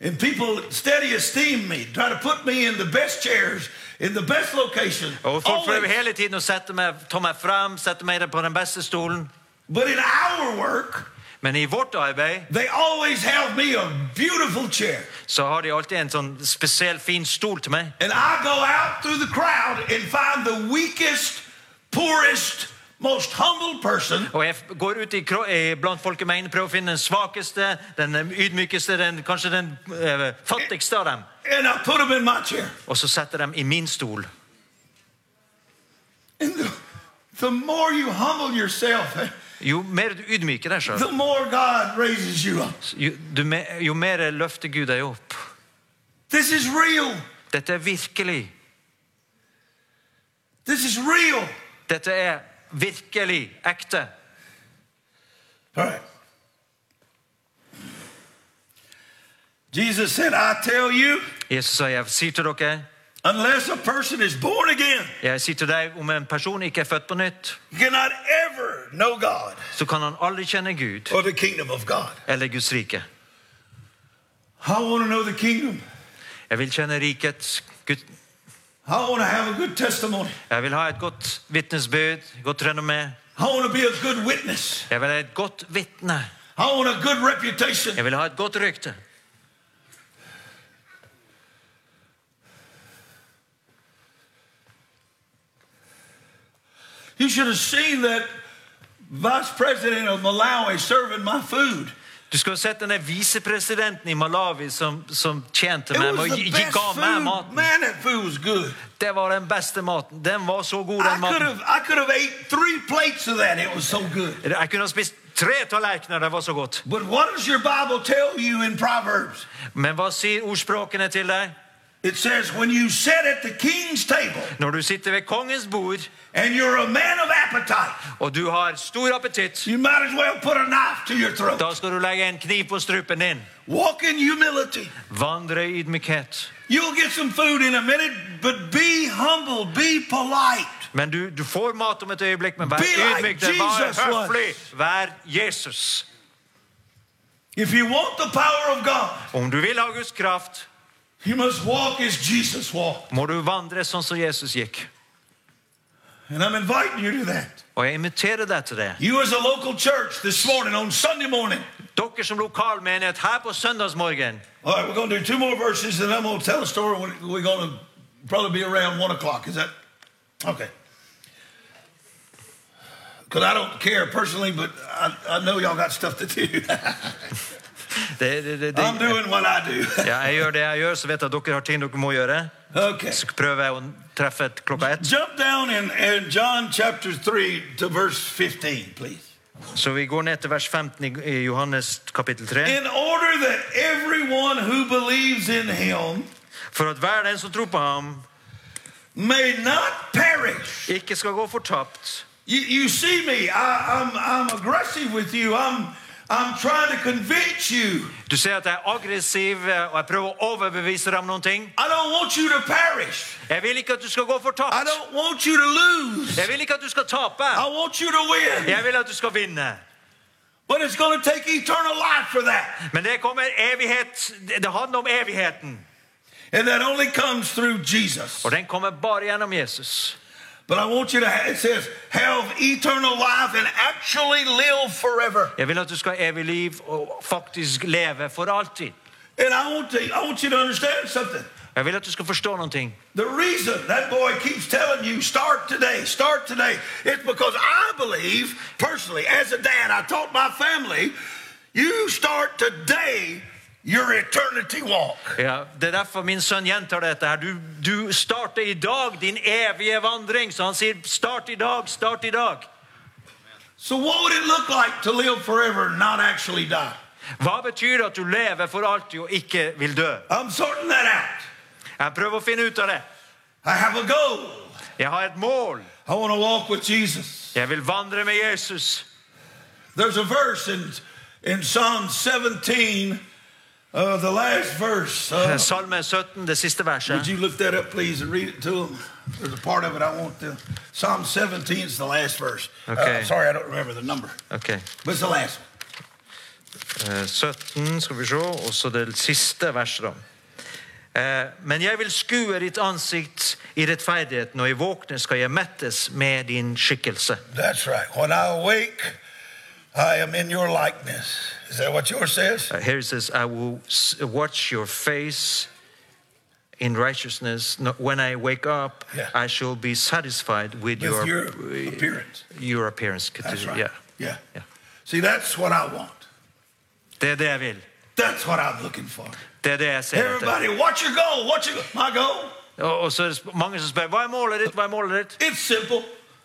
Speaker 1: And people steady esteem me, try to put me in the best chairs, in the best location.
Speaker 2: Og Oh, folk prøver
Speaker 1: always.
Speaker 2: hele tiden å sette meg, ta meg frem, sette meg på den beste stolen.
Speaker 1: But in our work,
Speaker 2: Men i vårt arbeid
Speaker 1: they always have me a beautiful chair.
Speaker 2: så har de alltid en sånn spesiell fin stol til meg.
Speaker 1: And I go out through the crowd and find the weakest, poorest, most humble person
Speaker 2: Og jeg f- går ut i, kro- i blant folkemengden prøver å finne den svakeste, den eh, ydmykeste, den, kanskje den eh, fattigste av dem.
Speaker 1: and I put them in my chair.
Speaker 2: Og så setter de i min stol.
Speaker 1: And the, the more you humble yourself,
Speaker 2: Jo mer du ydmyker deg sjøl,
Speaker 1: the more God raises you up.
Speaker 2: jo, du me- jo mer løfter Gud deg opp.
Speaker 1: This is real.
Speaker 2: Dette er virkelig.
Speaker 1: This is real.
Speaker 2: Dette er virkelig ekte.
Speaker 1: All right. Jesus said, I tell you,
Speaker 2: Jesus sa, jeg sier til dere,
Speaker 1: unless a person is born again,
Speaker 2: jeg sier til deg, om en person ikke er født på nytt,
Speaker 1: you cannot ever know God
Speaker 2: så kan han aldri kjenne Gud
Speaker 1: or the kingdom of God.
Speaker 2: eller Guds rike.
Speaker 1: I want to know the kingdom.
Speaker 2: Jeg vil kjenne rikets Gud.
Speaker 1: I want to have a good testimony.
Speaker 2: Jeg vil ha et godt vitnesbyrd, godt renommé.
Speaker 1: I want to be a good witness.
Speaker 2: Jeg vil ha et godt vitne.
Speaker 1: I want a good reputation.
Speaker 2: Jeg vil ha et godt rykte.
Speaker 1: You should have seen that vice president of Malawi serving my food.
Speaker 2: Du skulle ha sett denne visepresidenten i Malawi som, som tjente
Speaker 1: It
Speaker 2: meg med
Speaker 1: was
Speaker 2: å
Speaker 1: the
Speaker 2: gi, gi-
Speaker 1: best
Speaker 2: ga meg
Speaker 1: food.
Speaker 2: maten.
Speaker 1: Man, that food was good.
Speaker 2: Det var den beste maten. Den var så god,
Speaker 1: I
Speaker 2: den
Speaker 1: could
Speaker 2: maten.
Speaker 1: have I could have ate three plates of that. It was so good.
Speaker 2: Jeg kunne ha spist tre tallerkener, det var så godt.
Speaker 1: But what does your Bible tell you in Proverbs?
Speaker 2: Men hva sier ordspråkene til deg?
Speaker 1: It says, when you sit at the king's table
Speaker 2: Når du sitter ved kongens bord,
Speaker 1: and you're a man of appetite,
Speaker 2: og du har stor appetitt,
Speaker 1: you might as well put a knife to your throat.
Speaker 2: da skal du legge en kniv på strupen din.
Speaker 1: Walk in humility.
Speaker 2: Vandre i ydmykhet.
Speaker 1: You'll get some food in a minute, but be humble, be polite.
Speaker 2: Men du, du får mat om et øyeblikk, men vær
Speaker 1: Be like
Speaker 2: ydmyk. det er bare
Speaker 1: Jesus was.
Speaker 2: høflig. Vær Jesus.
Speaker 1: If you want the power of God,
Speaker 2: Om du vil ha Guds kraft,
Speaker 1: you must walk as Jesus walked.
Speaker 2: må du vandre sånn som Jesus gikk.
Speaker 1: And I'm inviting you to that.
Speaker 2: Og jeg inviterer deg til det.
Speaker 1: You, as a local church this morning, on Sunday morning.
Speaker 2: Dere som lokal menighet her på søndagsmorgen.
Speaker 1: All right, we're going to do two more verses, and I'm going to tell a story. We're- We're going to probably be around one o'clock. Is that okay? Because I don't care personally, but I, I know y'all got stuff to do.
Speaker 2: Det, det, det,
Speaker 1: I'm
Speaker 2: det.
Speaker 1: doing what I do.
Speaker 2: Ja, jeg gjør det jeg gjør, så vet jeg at dere har ting dere må gjøre.
Speaker 1: Okay.
Speaker 2: Så prøver jeg å treffe et klokka ett.
Speaker 1: Jump down in, in John chapter 3 to verse 15, please.
Speaker 2: Så vi går ned til vers 15 i i Johannes kapittel 3.
Speaker 1: In order that everyone who believes in him
Speaker 2: For at hver den som tror på ham,
Speaker 1: may not perish.
Speaker 2: ikke skal gå fortapt.
Speaker 1: You, you see me, I, I'm, I'm aggressive with you. I'm, I'm trying to convince you.
Speaker 2: Du ser at jeg er aggressiv, og jeg prøver å overbevise deg om noen ting.
Speaker 1: I don't want you to perish.
Speaker 2: Jeg vil ikke at du skal gå
Speaker 1: I
Speaker 2: fortapt.
Speaker 1: don't want you to lose.
Speaker 2: Jeg vil ikke at du skal tape.
Speaker 1: I want you to win.
Speaker 2: Jeg vil at du skal vinne.
Speaker 1: But it's going to take eternal life for that.
Speaker 2: Men det kommer evighet. Det det handler om evigheten.
Speaker 1: And that only comes through Jesus.
Speaker 2: Og den kommer bare gjennom Jesus.
Speaker 1: But I want you to, ha- it says, have eternal life and actually live forever.
Speaker 2: Jeg vil at du skal ha evig liv og faktisk leve for alltid.
Speaker 1: And I want, to, I want you to understand something.
Speaker 2: Jeg vil at du skal forstå noen ting.
Speaker 1: The reason that boy keeps telling you, start today, start today, it's because I believe, personally, as a dad, I taught my family, you start today your eternity walk.
Speaker 2: Ja, det er derfor min sønn gjentar dette her. Du, du starter i dag din evige vandring. Så han sier start i dag, start i dag.
Speaker 1: So, what would it look like to live forever and not actually die?
Speaker 2: Hva betyr det at du lever for alltid og ikke vil dø?
Speaker 1: I'm sorting that out.
Speaker 2: Jeg prøver å finne ut av det.
Speaker 1: I have a goal.
Speaker 2: Jeg har et mål.
Speaker 1: I want to walk with Jesus.
Speaker 2: Jeg vil vandre med Jesus.
Speaker 1: There's a verse in, in Psalm 17, uh, the last verse. Uh,
Speaker 2: Salme 17, det siste
Speaker 1: Would
Speaker 2: verset.
Speaker 1: you look that up, please, and read it to them? There's a part of it I want to. Psalm 17 is the last verse. Uh,
Speaker 2: Okay.
Speaker 1: sorry, I don't remember the number,
Speaker 2: Ok,
Speaker 1: but it's the last one.
Speaker 2: eh, 17 skal vi se, og så det siste verset da. Eh, Men jeg vil skue ditt ansikt i rettferdigheten, og i våkne skal jeg mettes med din skikkelse.
Speaker 1: That's right. When I awake, I am in your likeness. Is that what yours says?
Speaker 2: Uh, Here it says, I will s- watch your face in righteousness. No, When I wake up,
Speaker 1: Yeah.
Speaker 2: I shall be satisfied
Speaker 1: With
Speaker 2: with, your, uh,
Speaker 1: your appearance.
Speaker 2: your appearance.
Speaker 1: That's right.
Speaker 2: Yeah.
Speaker 1: Yeah.
Speaker 2: Yeah.
Speaker 1: See, that's what I want.
Speaker 2: Det er det jeg vil.
Speaker 1: That's what I'm looking for.
Speaker 2: Det er det jeg ser etter.
Speaker 1: Everybody, what's your goal? What's your my goal?
Speaker 2: Og, og så er det sp- mange som spør hva er målet ditt. Hva er målet ditt?
Speaker 1: It's simple.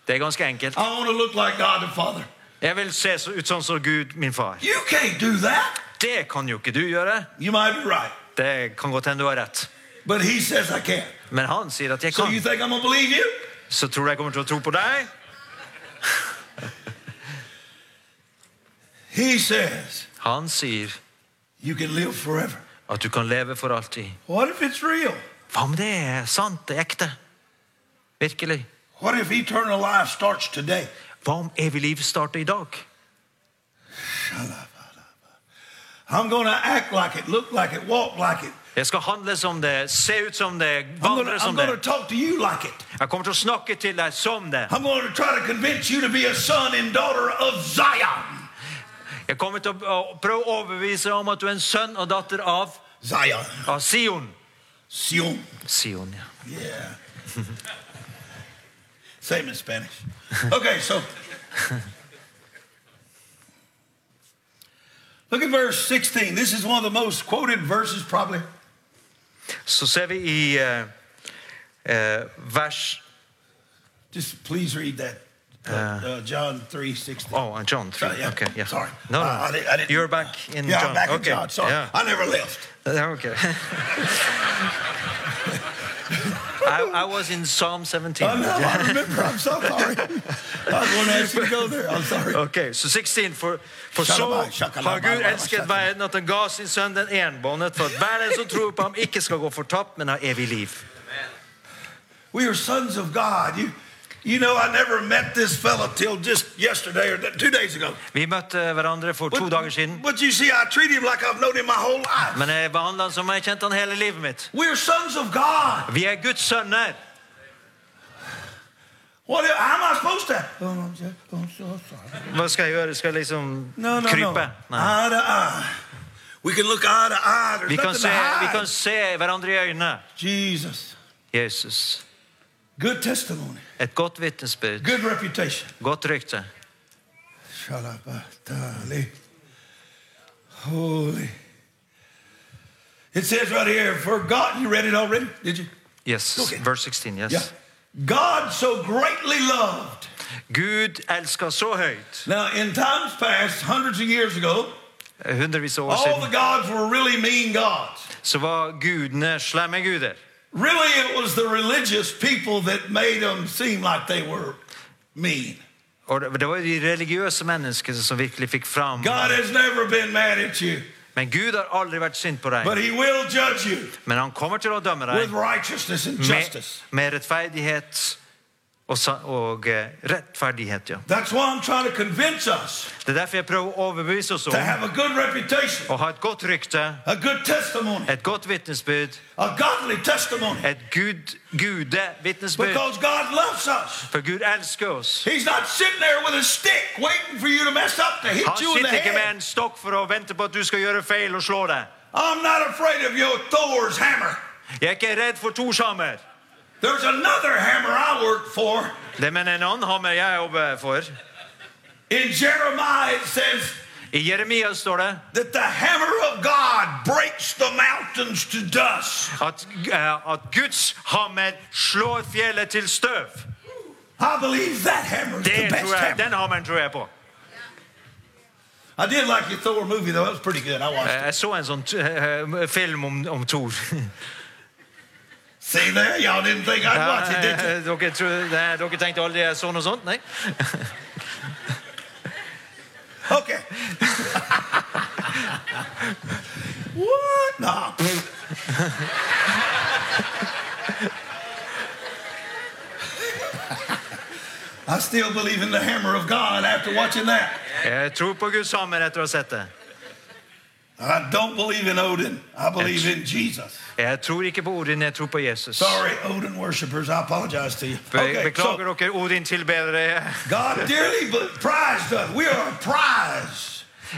Speaker 2: Det er ganske enkelt.
Speaker 1: I want to look like God the Father.
Speaker 2: Jeg vil se så, ut sånn som Gud, min far.
Speaker 1: You can't do that.
Speaker 2: Det kan jo ikke du gjøre.
Speaker 1: You might be right,
Speaker 2: Det kan godt hende du har rett.
Speaker 1: but He says I can.
Speaker 2: Men han sier at jeg
Speaker 1: So
Speaker 2: kan.
Speaker 1: you think I'm gonna believe you?
Speaker 2: Så tror du jeg kommer til å tro på deg?
Speaker 1: He says
Speaker 2: Han sier
Speaker 1: you can live forever.
Speaker 2: at du kan leve for alltid.
Speaker 1: What if it's real?
Speaker 2: Hva om det er sant, det er ekte? Virkelig.
Speaker 1: What if eternal life starts today?
Speaker 2: Hva om evig liv starter i dag?
Speaker 1: I'm going to act like it, look like it, walk like it.
Speaker 2: Jeg skal handle som det, se ut som det,
Speaker 1: I'm going to,
Speaker 2: vandre som
Speaker 1: I'm going to
Speaker 2: det.
Speaker 1: talk to you like it.
Speaker 2: Jeg kommer til å snakke til deg som det.
Speaker 1: I'm going to try to convince you to be a son and daughter of Zion.
Speaker 2: Jeg kommer til å å prøve å overbevise deg om at du er en sønn og datter av,
Speaker 1: Zion.
Speaker 2: av Sion.
Speaker 1: Sion.
Speaker 2: Sion, ja.
Speaker 1: Yeah. Same in Spanish. Okay, so look at verse 16. This is one of the most quoted verses, probably.
Speaker 2: Så ser vi i eh, eh, vers
Speaker 1: Just please read that. Uh, uh, John 3 16.
Speaker 2: Oh, John.
Speaker 1: Uh, yeah.
Speaker 2: Okay, yeah.
Speaker 1: Sorry.
Speaker 2: No, no.
Speaker 1: Uh, I didn't- I didn't-
Speaker 2: You're back in
Speaker 1: yeah,
Speaker 2: John.
Speaker 1: I'm back
Speaker 2: okay.
Speaker 1: in John. Sorry.
Speaker 2: Yeah.
Speaker 1: I never left.
Speaker 2: Yeah, Okay. I, I was in Psalm 17.
Speaker 1: I know. I remember. I'm so sorry. I was going to ask you to go there. I'm sorry.
Speaker 2: Ok, så 16. For, for så
Speaker 1: Shakalabah, shakalabah,
Speaker 2: har Gud
Speaker 1: shakalabah,
Speaker 2: elsket
Speaker 1: shakalabah.
Speaker 2: verden at han ga sin sønn den enbåndet, for at hver den som tror på ham, ikke skal gå fortapt, men ha evig liv.
Speaker 1: We are sons of God. You, you know, I never met this fella till just yesterday or th- two days ago.
Speaker 2: Vi møtte hverandre for to dager siden,
Speaker 1: But you see, I treat him like I've known him my whole life.
Speaker 2: men jeg behandlet han som jeg kjente han hele livet mitt.
Speaker 1: We're sons of God.
Speaker 2: Vi er Guds sønner.
Speaker 1: What? How am I supposed to? Oh, I'm so- I'm so sorry.
Speaker 2: Hva skal jeg gjøre? Skal jeg liksom
Speaker 1: No, Ah, no, no.
Speaker 2: krype? Nei.
Speaker 1: Eye to eye. We can look eye to eye. There's
Speaker 2: Vi kan,
Speaker 1: nothing
Speaker 2: se,
Speaker 1: to hide.
Speaker 2: vi kan se hverandre i øynene.
Speaker 1: Jesus.
Speaker 2: Jesus.
Speaker 1: Good testimony.
Speaker 2: Et godt vitnesbyrd.
Speaker 1: Good reputation.
Speaker 2: Godt rykte.
Speaker 1: Shalabatali. Holy. It says right here, for God, you read it already? Did you?
Speaker 2: Yes.
Speaker 1: Okay.
Speaker 2: Verse 16. Yes.
Speaker 1: Yeah. God so greatly loved.
Speaker 2: Gud elsker så høyt.
Speaker 1: Now, in times past, hundreds of years ago,
Speaker 2: Hundrevis av år
Speaker 1: all the
Speaker 2: siden
Speaker 1: gods were really mean gods.
Speaker 2: så var gudene slemme guder.
Speaker 1: Really, it was the religious people that made them seem like they were mean.
Speaker 2: Og det- det var jo de religiøse menneskene som virkelig fikk fram
Speaker 1: God has never been mad at you,
Speaker 2: Men Gud har aldri vært sint på
Speaker 1: but
Speaker 2: deg.
Speaker 1: He will judge you
Speaker 2: Men han kommer til å dømme
Speaker 1: with
Speaker 2: deg
Speaker 1: righteousness and
Speaker 2: med,
Speaker 1: justice.
Speaker 2: med rettferdighet og, sa- og eh, rettferdighet. ja.
Speaker 1: That's why I'm trying to convince us
Speaker 2: Det er derfor jeg prøver å overbevise oss
Speaker 1: to
Speaker 2: om
Speaker 1: have a good reputation,
Speaker 2: å ha et godt rykte,
Speaker 1: a good testimony,
Speaker 2: et godt vitnesbyrd,
Speaker 1: a godly testimony.
Speaker 2: et Gud, Gude vitnesbyrd.
Speaker 1: Because God loves us.
Speaker 2: For Gud elsker oss.
Speaker 1: He's not sitting there with a stick waiting for you to mess up to hit
Speaker 2: Han
Speaker 1: you in the
Speaker 2: sitter ikke med
Speaker 1: head.
Speaker 2: en stokk for å vente på at du skal gjøre feil og slå deg.
Speaker 1: I'm not afraid of your Thor's hammer.
Speaker 2: Jeg er ikke redd for Thors hammer.
Speaker 1: There's another hammer I work for.
Speaker 2: Det mener en annen hammer jeg jobber for.
Speaker 1: In Jeremiah, it says
Speaker 2: I Jeremia står det
Speaker 1: that the hammer of God breaks the mountains to dust.
Speaker 2: at, eh, at Guds hammer slår fjellet til støv.
Speaker 1: I believe that hammer is the
Speaker 2: Det
Speaker 1: best
Speaker 2: tror jeg,
Speaker 1: hammer.
Speaker 2: den hammeren tror jeg på.
Speaker 1: I did like your Thor movie, though. That was pretty good. I watched
Speaker 2: Eh,
Speaker 1: it.
Speaker 2: Jeg så en sånn eh, film om, om Thor.
Speaker 1: See there? Y'all didn't think I'd watch it, did you?
Speaker 2: Eh, Dere, tror- nei, dere tenkte aldri jeg så noe sånt? Nei?
Speaker 1: Okay. what? Nah. pfft. I still believe in the hammer of God after watching that.
Speaker 2: Jeg tror på Guds hammer etter å ha sett det.
Speaker 1: I don't believe in Odin. I believe in Jesus.
Speaker 2: Jeg tror ikke på Odin, jeg tror på Jesus.
Speaker 1: Sorry, Odin worshipers. I apologize to you.
Speaker 2: Be
Speaker 1: Okay,
Speaker 2: beklager
Speaker 1: so
Speaker 2: dere, Odin-tilbedere.
Speaker 1: God dearly bu- prized us. We are a prize.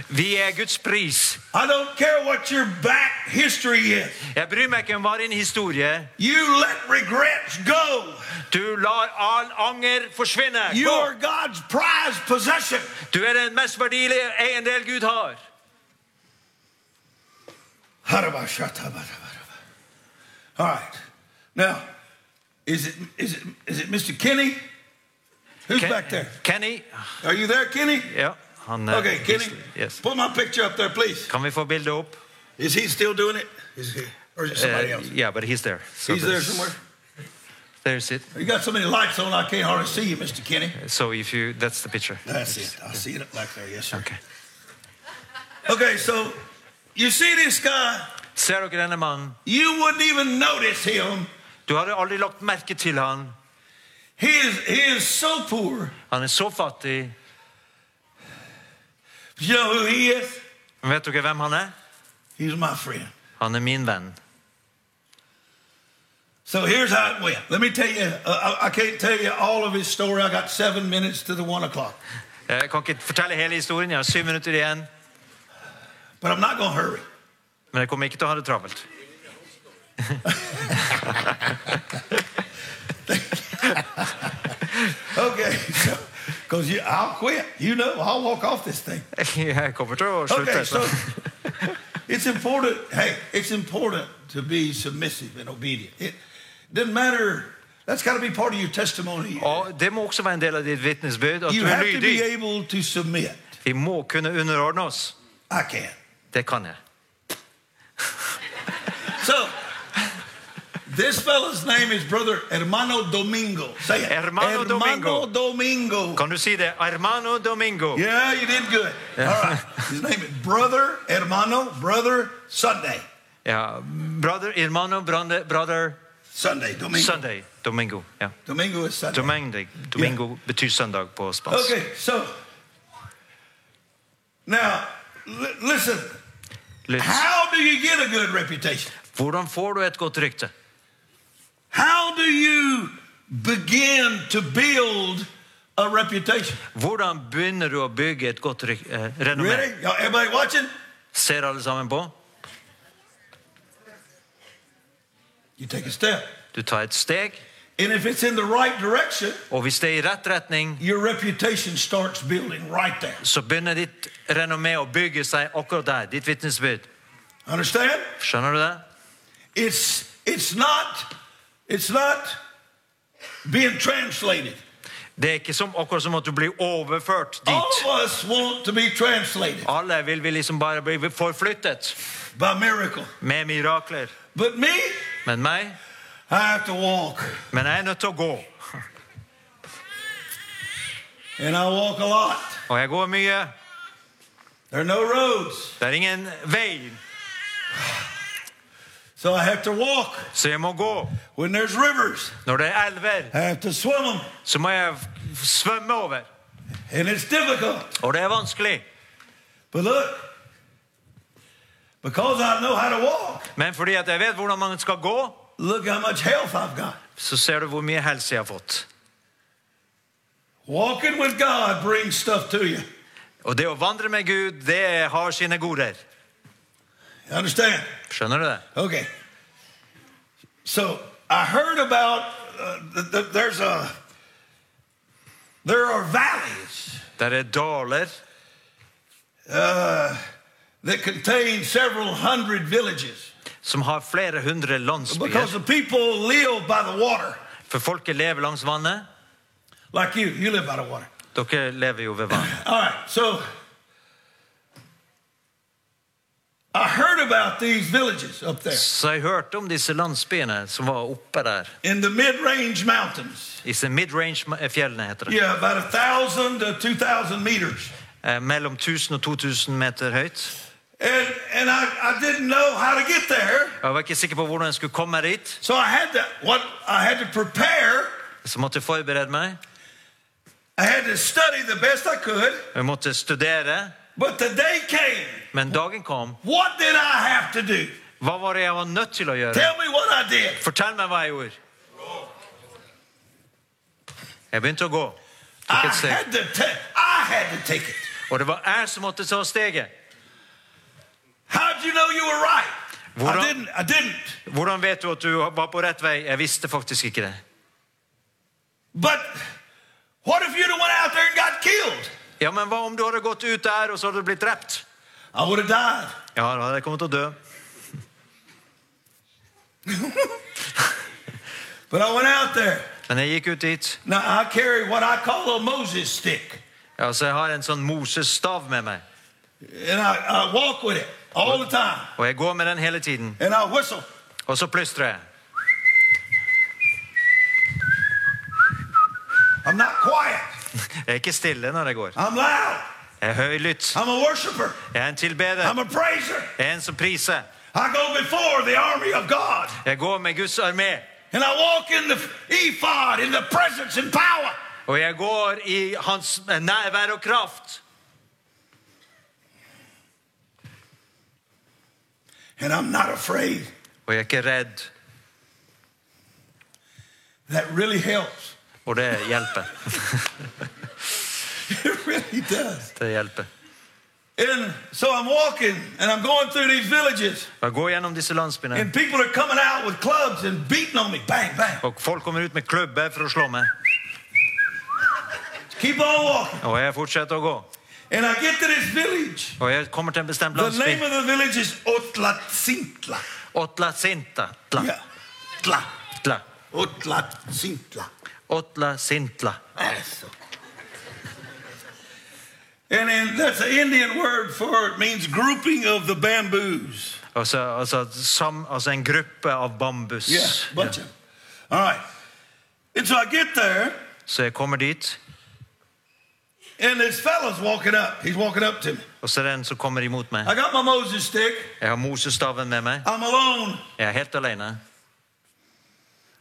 Speaker 2: Vi er Guds pris.
Speaker 1: I don't care what your back history is.
Speaker 2: Jeg bryr meg ikke om hva din historie er.
Speaker 1: You let regrets go.
Speaker 2: Du lar all anger forsvinne.
Speaker 1: You are God's prized possession.
Speaker 2: Du er den mest verdilige eiendel Gud har.
Speaker 1: All right. Now, is it is it is it Mr. Kenny? Who's
Speaker 2: Ken-
Speaker 1: back there?
Speaker 2: Kenny.
Speaker 1: Are you there, Kenny?
Speaker 2: Ja, han eh,
Speaker 1: Okay, Kenny.
Speaker 2: Yes.
Speaker 1: Put my picture up there, please.
Speaker 2: Kan vi få bildet opp?
Speaker 1: Is he still doing it? Is he or is it somebody
Speaker 2: Uh,
Speaker 1: else?
Speaker 2: yeah, but he's there. So
Speaker 1: He's there
Speaker 2: there's-
Speaker 1: somewhere.
Speaker 2: There's it.
Speaker 1: You got so many lights on, I can't hardly see you, Mr. Kenny.
Speaker 2: So if you, that's the picture.
Speaker 1: That's it. I see it up back there. Yes, sir.
Speaker 2: Okay.
Speaker 1: Okay, so you see this guy,
Speaker 2: Ser dere denne mannen?
Speaker 1: you wouldn't even notice him.
Speaker 2: Du hadde aldri lagt merke til han.
Speaker 1: He is he is so poor.
Speaker 2: Han er så fattig.
Speaker 1: You know who he is?
Speaker 2: Men vet dere hvem han er?
Speaker 1: He's my friend.
Speaker 2: Han er min venn.
Speaker 1: So here's how it went. Let me tell you, uh, I, I can't tell you all of his story. I got seven minutes to the one o'clock,
Speaker 2: Eh, Jeg kan ikke fortelle hele historien. Jeg har syv minutter igjen.
Speaker 1: but I'm not going to hurry.
Speaker 2: Men jeg kommer ikke til å ha det travelt.
Speaker 1: Okay, because I'll quit. You know, I'll walk off this thing.
Speaker 2: Jeg kommer til å slutte. altså.
Speaker 1: Okay, so it's important. Hey, it's important to be submissive and obedient. It doesn't matter. That's got to be part of your testimony.
Speaker 2: Og det må også være en del av ditt vitnesbyrd. At
Speaker 1: You
Speaker 2: du
Speaker 1: have
Speaker 2: er
Speaker 1: to be
Speaker 2: lydig.
Speaker 1: able to submit.
Speaker 2: Vi må kunne underordne oss.
Speaker 1: I can.
Speaker 2: Det kan jeg.
Speaker 1: So, this fella's name is Brother Hermano Domingo. Say it.
Speaker 2: Hermano Domingo.
Speaker 1: Domingo.
Speaker 2: Kan du si det? Armano Domingo.
Speaker 1: Yeah, you did good. All right. His name is Brother Hermano, Brother Sunday.
Speaker 2: Ja. Brother Irmano Brande, Brother
Speaker 1: Sunday, Domingo.
Speaker 2: Sunday. Domingo. Ja.
Speaker 1: Domingo is Sunday.
Speaker 2: Domingo, Domingo betyr søndag på spansk.
Speaker 1: Okay, so now li- listen.
Speaker 2: Lytt.
Speaker 1: How do you get a good reputation?
Speaker 2: Hvordan får du et godt rykte?
Speaker 1: How do you begin to build a reputation?
Speaker 2: Hvordan begynner du å bygge et godt ryk, eh, renommé?
Speaker 1: Ready? Y'all, everybody watching?
Speaker 2: Ser alle sammen på?
Speaker 1: You take a step.
Speaker 2: Du tar et steg,
Speaker 1: And if it's in the right direction,
Speaker 2: og hvis det er i rett retning,
Speaker 1: your reputation starts building right there.
Speaker 2: så begynner ditt renommé å bygge seg akkurat der. Ditt vitnesbyrd.
Speaker 1: Understand?
Speaker 2: Skjønner du det?
Speaker 1: It's it's not it's not being translated.
Speaker 2: Det er ikke som, akkurat som at du blir overført
Speaker 1: All of
Speaker 2: dit.
Speaker 1: us want to be translated
Speaker 2: Alle vil vi liksom bare bli forflyttet
Speaker 1: by miracle.
Speaker 2: med mirakler.
Speaker 1: But me,
Speaker 2: Men meg?
Speaker 1: I have to walk.
Speaker 2: Men jeg er nødt til å gå.
Speaker 1: And I walk a lot.
Speaker 2: Og jeg går mye.
Speaker 1: There are no roads.
Speaker 2: Det er ingen vei.
Speaker 1: So I have to walk.
Speaker 2: Så jeg må gå.
Speaker 1: When there's rivers,
Speaker 2: Når det er elver,
Speaker 1: I have to swim them.
Speaker 2: så må jeg f- svømme over.
Speaker 1: And it's difficult.
Speaker 2: Og det er vanskelig.
Speaker 1: But look, because I know how to walk,
Speaker 2: Men fordi at jeg vet hvordan man skal gå,
Speaker 1: look how much health I've got.
Speaker 2: så ser du hvor mye helse jeg har fått.
Speaker 1: Walking with God brings stuff to you.
Speaker 2: Og det å vandre med Gud, det har sine goder.
Speaker 1: You understand?
Speaker 2: Skjønner du det?
Speaker 1: Okay. So I heard about uh, th- th- there's a there are valleys
Speaker 2: Der er daler
Speaker 1: uh, that contain several hundred villages
Speaker 2: som har flere hundre
Speaker 1: because
Speaker 2: landsbyer.
Speaker 1: the people live by the water,
Speaker 2: For folket lever langs vannet.
Speaker 1: like you. You live by the water.
Speaker 2: Dere lever jo ved vann.
Speaker 1: All right. So I heard about these villages up there
Speaker 2: Så jeg hørte om disse landsbyene som var oppe der.
Speaker 1: in the mid-range mountains.
Speaker 2: Disse midrange-fjellene, heter det.
Speaker 1: Yeah, about a thousand to two thousand meters.
Speaker 2: Eh, Mellom 1000 og 2000 meter høyt.
Speaker 1: And and I, I didn't know how to get there.
Speaker 2: Jeg var ikke sikker på hvordan jeg skulle komme dit,
Speaker 1: So I had to what I had to prepare.
Speaker 2: så måtte jeg forberede meg.
Speaker 1: I had to study the best I could.
Speaker 2: Jeg måtte studere.
Speaker 1: But the day came.
Speaker 2: Men dagen kom.
Speaker 1: What did I have to do?
Speaker 2: Hva var det jeg var nødt til å gjøre?
Speaker 1: Tell me what I did.
Speaker 2: Fortell meg hva jeg gjorde. Jeg begynte å gå.
Speaker 1: I
Speaker 2: Tok et steg.
Speaker 1: had to take. I had to take it.
Speaker 2: Og det var jeg som måtte ta steget.
Speaker 1: How'd you know you were right?
Speaker 2: What
Speaker 1: I
Speaker 2: I-
Speaker 1: didn't. I didn't.
Speaker 2: Hvordan vet du at du var på rett vei? Jeg visste faktisk ikke det.
Speaker 1: But what if you'd have went out there and got killed?
Speaker 2: Ja, men hva om du hadde gått ut der, og så hadde du blitt drept?
Speaker 1: I would have died.
Speaker 2: Ja, da hadde jeg kommet til å dø.
Speaker 1: But I went out there.
Speaker 2: Men jeg gikk ut dit.
Speaker 1: Now I carry what I call a Moses stick,
Speaker 2: Ja, så jeg har en sånn Moses-stav med meg.
Speaker 1: and I, I walk with it all the time,
Speaker 2: Og jeg går med den hele tiden.
Speaker 1: and I whistle.
Speaker 2: Og så plystrer jeg.
Speaker 1: I'm not quiet.
Speaker 2: Jeg er ikke stille når jeg går.
Speaker 1: I'm loud.
Speaker 2: Jeg er høylytt.
Speaker 1: I'm a worshiper.
Speaker 2: Jeg er en tilbeder.
Speaker 1: I'm a praiser.
Speaker 2: Jeg er en som priser.
Speaker 1: I go before the army of God,
Speaker 2: Jeg går med Guds armé.
Speaker 1: and I walk in the ephod, in the presence and power.
Speaker 2: Og jeg går i hans nærvær og kraft.
Speaker 1: And I'm not afraid.
Speaker 2: Og jeg er ikke redd.
Speaker 1: That really helps.
Speaker 2: Og det hjelper.
Speaker 1: It really does.
Speaker 2: Det hjelper.
Speaker 1: And so I'm walking, and I'm going through these villages,
Speaker 2: Jeg går gjennom disse landsbyene.
Speaker 1: and people are coming out with clubs and beating on me. Bang, bang.
Speaker 2: Og folk kommer ut med klubber for å slå meg.
Speaker 1: Keep on walking.
Speaker 2: Og jeg fortsetter å gå.
Speaker 1: And I get to this village.
Speaker 2: Og jeg kommer til en bestemt
Speaker 1: The name
Speaker 2: landsby.
Speaker 1: of the village is Otlatzintla.
Speaker 2: Otlasintla. Tla.
Speaker 1: Yeah. Tla.
Speaker 2: Tla.
Speaker 1: Otlatzintla.
Speaker 2: Otlasintla.
Speaker 1: That's okay. And then that's an Indian word for it means grouping of the bamboos.
Speaker 2: Altså, altså, sam, altså en gruppe av bambus.
Speaker 1: Yeah, bunch of 'em. All right. And so I get there,
Speaker 2: Så jeg kommer dit,
Speaker 1: and this fellow's walking up. He's walking up to me.
Speaker 2: og så er det en som kommer imot meg.
Speaker 1: I got my Moses stick.
Speaker 2: Jeg har Mosestaven med meg.
Speaker 1: I'm alone.
Speaker 2: Jeg er helt alene.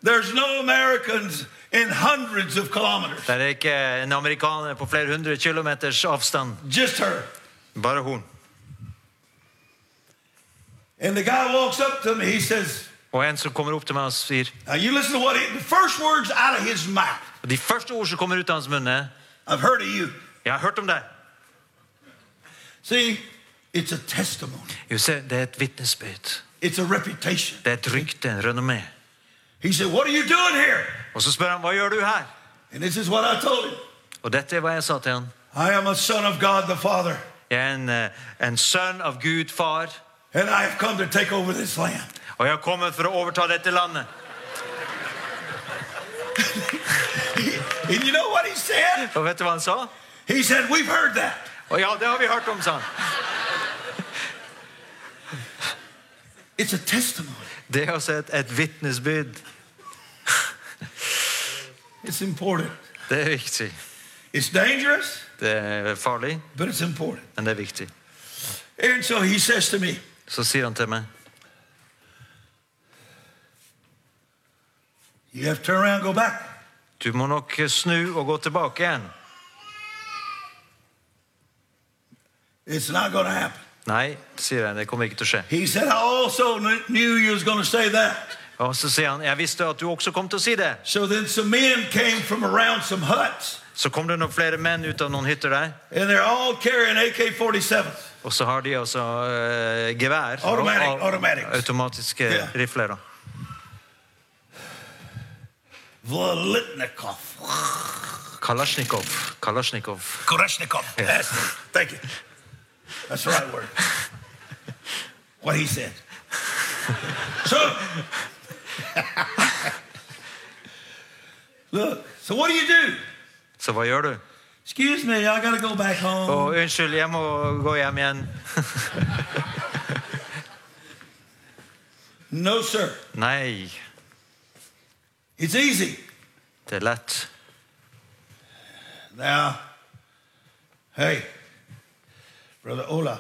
Speaker 1: There's no Americans in hundreds of kilometers.
Speaker 2: Det er ikke en amerikaner på flere hundre kilometers avstand.
Speaker 1: Just her.
Speaker 2: Bare hun.
Speaker 1: And the guy walks up to me. He says,
Speaker 2: Og en som kommer opp til meg og sier
Speaker 1: Now you listen to what he, the first words out of his mouth.
Speaker 2: De første ord som kommer ut av hans munn, er
Speaker 1: I've heard of you.
Speaker 2: 'Jeg har hørt om deg'.
Speaker 1: See, it's a testimony.
Speaker 2: Jo, se, det er et vitnesbyrd.
Speaker 1: It's a reputation.
Speaker 2: Det er et rykte, en renommé.
Speaker 1: He said, What are you doing here?
Speaker 2: Og så spør han 'Hva gjør du her?'
Speaker 1: And this is what I told him.
Speaker 2: Og dette er hva jeg sa til han.
Speaker 1: I am a son of God the Father,
Speaker 2: Jeg er en, eh, en sønn av Gud far,
Speaker 1: and I have come to take over this land.
Speaker 2: og jeg har kommet for å overta dette landet.
Speaker 1: And you know what he said?
Speaker 2: Og vet du hva han sa?
Speaker 1: He said, We've heard that.
Speaker 2: Og ja, det har vi hørt om, sa han.
Speaker 1: It's a testimony.
Speaker 2: Det er altså et, et vitnesbyrd.
Speaker 1: It's important.
Speaker 2: Det er viktig.
Speaker 1: It's dangerous,
Speaker 2: Det er farlig,
Speaker 1: but it's important.
Speaker 2: men det er viktig.
Speaker 1: And so he says to me,
Speaker 2: Så sier han til meg
Speaker 1: You have to turn around and go back.
Speaker 2: Du må nok snu og gå tilbake igjen.
Speaker 1: It's not going to happen.
Speaker 2: Nei, sier jeg, det kommer ikke til å skje.
Speaker 1: He said, I also kn- knew you was going to say that.
Speaker 2: Og så sier han, jeg visste at du også kom til å si det.
Speaker 1: So then some men came from around some huts,
Speaker 2: Så kom det noen flere menn ut av noen hytter der,
Speaker 1: and they're all carrying AK 47s.
Speaker 2: og så har de altså eh, gevær.
Speaker 1: Automatic,
Speaker 2: og- og-
Speaker 1: automatics.
Speaker 2: Automatiske
Speaker 1: Ja.
Speaker 2: rifler, da.
Speaker 1: Volitnikov.
Speaker 2: Kalasjnikov. Kalasjnikov.
Speaker 1: Koreshnikov. That's it. Thank you. That's the right word. What he said. So, look, so what do you do?
Speaker 2: Så hva gjør du?
Speaker 1: Excuse me, I got to go back home.
Speaker 2: Å, unnskyld, jeg må gå hjem igjen.
Speaker 1: No, sir.
Speaker 2: Nei,
Speaker 1: It's easy.
Speaker 2: det er lett.
Speaker 1: Now, hey, Brother Ola,